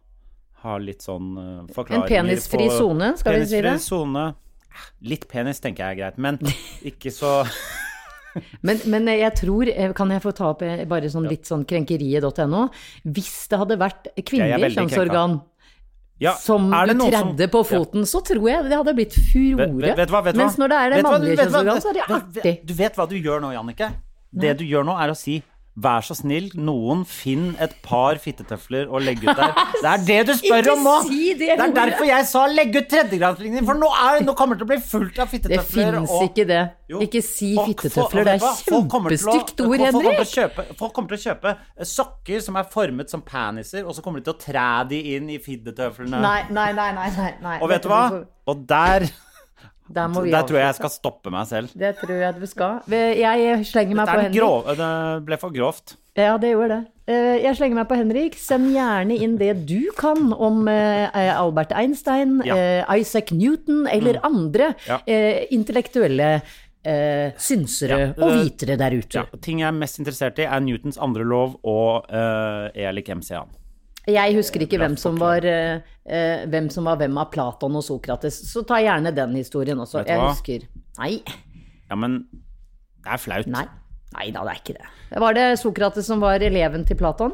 S1: ha litt sånn eh,
S3: En
S1: forklaringer
S3: penisfri
S1: på-
S3: sone, skal vi si det.
S1: Penisfri sone. Ah, Litt penis tenker jeg er greit, men ikke så
S3: Men, men jeg tror, eh, kan jeg få ta opp eh, bare sånn litt sånn krenkeriet.no, hvis det hadde vært
S1: Jeg er
S3: kvinnelig
S1: veldig
S3: kjønnsorgan
S1: ja,
S3: som
S1: er
S3: du
S1: det noen som-
S3: tredde på foten, så tror jeg det hadde blitt furore.
S1: Vet, vet, vet du hva, vet du hva?
S3: Mens når det er det
S1: Vet du hva-
S3: mannlige
S1: vet du hva-
S3: kjønnsorganet, så er det
S1: vet-
S3: artig.
S1: Du vet hva du gjør nå, Jannicke? Det du gjør nå, er å si Vær så snill, noen finn et par fittetøfler og legg ut der. Det er det du spør
S3: Ikke
S1: om nå!
S3: si det,
S1: er
S3: Nora.
S1: derfor jeg sa legg ut tredjegradsligningen, for nå, er, nå kommer det til å bli fullt av
S3: Det
S1: fittetøfler.
S3: fins
S1: og-
S3: ikke det.
S1: Jo.
S3: Ikke si
S1: Folk- folk-
S3: fittetøfler, det
S1: vet du hva?
S3: er
S1: Folk kommer til å-
S3: kjempestygt ord,
S1: folk- Folk kommer,
S3: Henrik.
S1: til å kjøpe, folk kommer til å kjøpe eh, sokker som er formet som peniser, og så kommer de til å træ de inn i fittetøflene.
S3: Nei, nei, nei, nei, nei, nei.
S1: Og vet du hva? Og der
S3: Der må vi
S1: Der tror jeg jeg
S3: avslutte.
S1: skal stoppe meg selv.
S3: Det tror jeg at vi skal. Jeg slenger meg
S1: Det,
S3: på
S1: er den
S3: Henrik.
S1: grov, eh, det ble for grovt.
S3: Ja, det gjorde det. Eh, Jeg slenger meg på Henrik. Send gjerne inn det du kan om eh, Albert Einstein,
S1: Ja. Mm.
S3: eh, Isaac Newton eller andre
S1: Ja.
S3: eh, intellektuelle eh, synsere
S1: Ja.
S3: og vitere der ute.
S1: Ting jeg er mest interessert i, er Newtons andre lov og uh, E lik MC han.
S3: Jeg husker ikke hvem som, var, eh, eh, hvem som var hvem av Platon og Sokrates, så ta gjerne den historien også.
S1: Vet du
S3: Jeg
S1: hva?
S3: husker Nei.
S1: Ja, men det er flaut.
S3: Nei. Nei da, det er ikke det. Var det Sokrates som var eleven til Platon?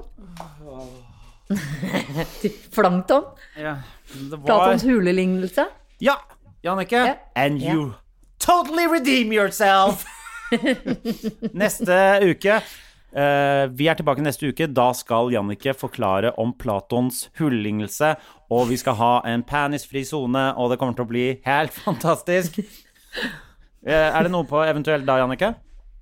S3: til Plankton?
S1: Ja, det var
S3: Platons hulelignelse?
S1: Ja, Jannicke.
S3: Ja.
S1: And you totally redeem yourself! neste uke eh, Vi er tilbake neste uke. Da skal Jannicke forklare om Platons hullignelse. Og vi skal ha en penisfri sone, og det kommer til å bli helt fantastisk. Eh, er det noe på eventuelt da, Jannicke?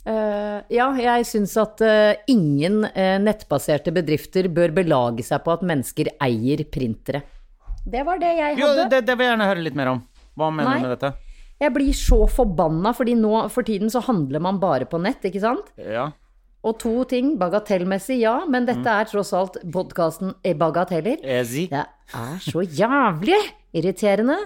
S3: Eh, ja, jeg syns at eh, ingen eh, nettbaserte bedrifter bør belage seg på at mennesker eier printere. Det var det jeg
S1: Jo,
S3: hadde.
S1: det, det vil jeg gjerne høre litt mer om. Hva mener
S3: Nei.
S1: du med dette?
S3: Jeg blir så forbanna, fordi nå for tiden så handler man bare på nett, ikke sant?
S1: Ja.
S3: Og to ting, bagatellmessig ja, men dette er tross alt podkasten Bagateller.
S1: Ezi.
S3: Det er så jævlig irriterende.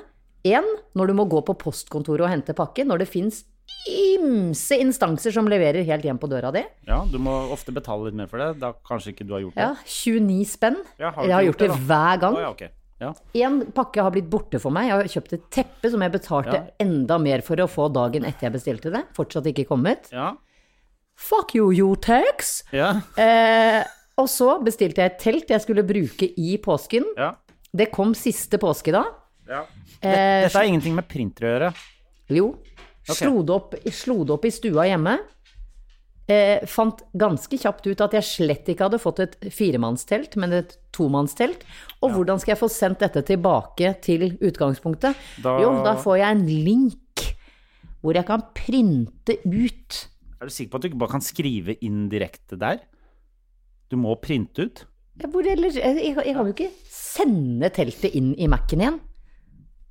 S3: Én, når du må gå på postkontoret og hente pakke, når det fins ymse instanser som leverer helt hjem på døra di.
S1: Ja, du må ofte betale litt mer for det. Da kanskje ikke du har gjort det.
S3: Ja, 29 spenn.
S1: Ja, har du
S3: jeg har
S1: ikke
S3: gjort det,
S1: gjort det,
S3: hver gang.
S1: Å, ja, ok. Ja.
S3: Én pakke har blitt borte for meg. Jeg har kjøpt et teppe som jeg betalte
S1: Ja.
S3: enda mer for å få dagen etter jeg bestilte det. Fortsatt ikke kommet.
S1: Ja.
S3: Fuck you, Yotex!
S1: Ja.
S3: Eh, og så bestilte jeg et telt jeg skulle bruke i påsken.
S1: ja.
S3: Det kom siste påske da.
S1: Dette har ingenting med printer å gjøre.
S3: Jo. Slo, det opp, slo det opp i stua hjemme. Eh, fant ganske kjapt ut at jeg slett ikke hadde fått et firemannstelt, men et tomannstelt. Og hvordan skal jeg få sendt dette tilbake til utgangspunktet?
S1: Da-
S3: Jo, da får jeg en link hvor jeg kan printe ut.
S1: Er du sikker på at du ikke bare kan skrive inn direkte der? Du må printe ut.
S3: Ja, Hvor ellers? Jeg, jeg, jeg kan jo ikke sende teltet inn i Mac-en igjen.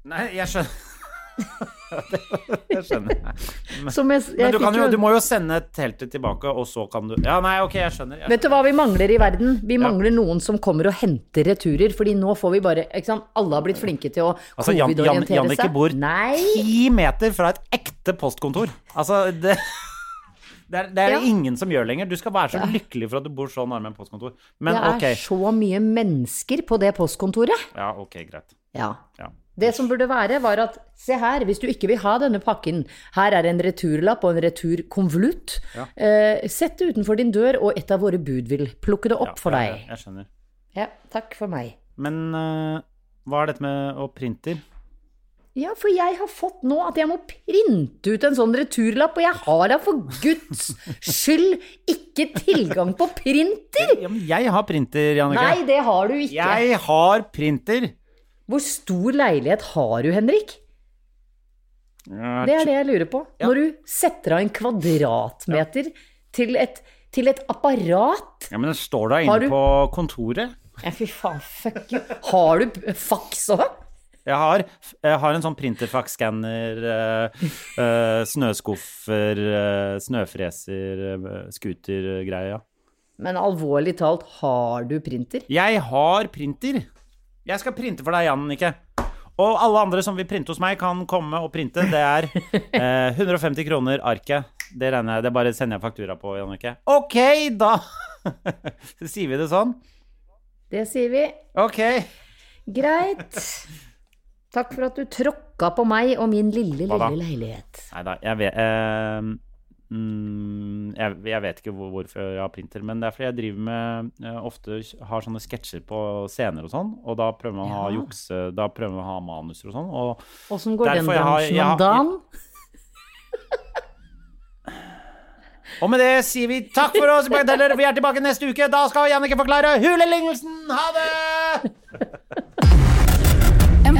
S1: Nei, jeg skjønner. det skjønner jeg.
S3: Som jeg, jeg
S1: Men du,
S3: fikk
S1: kan jo, du må jo sende teltet tilbake, og så kan du Ja, nei, ok, jeg skjønner. Jeg.
S3: Vet du hva vi mangler i verden? Vi mangler noen som kommer og henter returer. Fordi nå får vi bare ikke sant? Alle har blitt flinke til å
S1: Altså, Jan, Jan,
S3: covid-orientere
S1: Jannicke
S3: seg.
S1: bor
S3: Nei!
S1: ti meter fra et ekte postkontor. Altså, det det er det er
S3: Ja.
S1: ingen som gjør lenger. Du skal være så lykkelig for at du bor så nærme en postkontor. Men
S3: Det er
S1: ok.
S3: så mye mennesker på det postkontoret.
S1: Ja, ok, greit.
S3: Ja.
S1: Ja.
S3: Det som burde være, var at se her, hvis du ikke vil ha denne pakken, her er en returlapp og en returkonvolutt. Eh, sett det utenfor din dør, og et av våre bud vil plukke det opp
S1: Ja,
S3: for
S1: ja,
S3: deg.
S1: ja, Jeg skjønner.
S3: Ja, takk for meg.
S1: Men eh, hva er dette med å printer?
S3: Ja, for jeg har fått nå at jeg må printe ut en sånn returlapp, og jeg har da for guds skyld ikke tilgang på printer!
S1: Ja, men jeg har printer, Jannicke.
S3: Nei, det har du ikke.
S1: Jeg har printer!
S3: Hvor stor leilighet har du, Henrik?
S1: Ja,
S3: Det er det jeg lurer på. Når du setter av en kvadratmeter til, et, til et apparat
S1: Ja, men den står da
S3: Har
S1: inne
S3: du-
S1: på kontoret.
S3: ja, Fy faen, fuck you. Har du b- fax òg?
S1: Jeg har, jeg har en sånn printerfax-skanner, eh, eh, snøskuffer, eh, snøfreser, eh, scooter-greia.
S3: Men alvorlig talt, har du printer?
S1: Jeg har printer. Jeg skal printe for deg, Jannicke. Og alle andre som vil printe hos meg, kan komme og printe. Det er eh, 150 kroner arket. Det regner jeg, det bare sender jeg faktura på, Jannicke. Ok, da! Så sier vi det sånn.
S3: Det sier vi.
S1: Ok.
S3: Greit. Takk for at du tråkka på meg og min lille,
S1: Hva da?
S3: lille leilighet.
S1: Nei da, jeg vet eh, mm, jeg, jeg vet ikke hvor, hvorfor jeg har printer, men det er fordi jeg driver med eh, Ofte har sånne sketsjer på scener og sånn, og da prøver man å ha jukse... Da prøver man å ha manuser og sånn, og
S3: Åssen går
S1: Derfor
S3: den
S1: jeg har-
S3: bransjen
S1: jeg har-
S3: om dagen?
S1: Og med det sier vi takk for oss, bagateller. Vi er tilbake neste uke. Da skal Jannicke forklare hulelignelsen. Ha det!
S6: En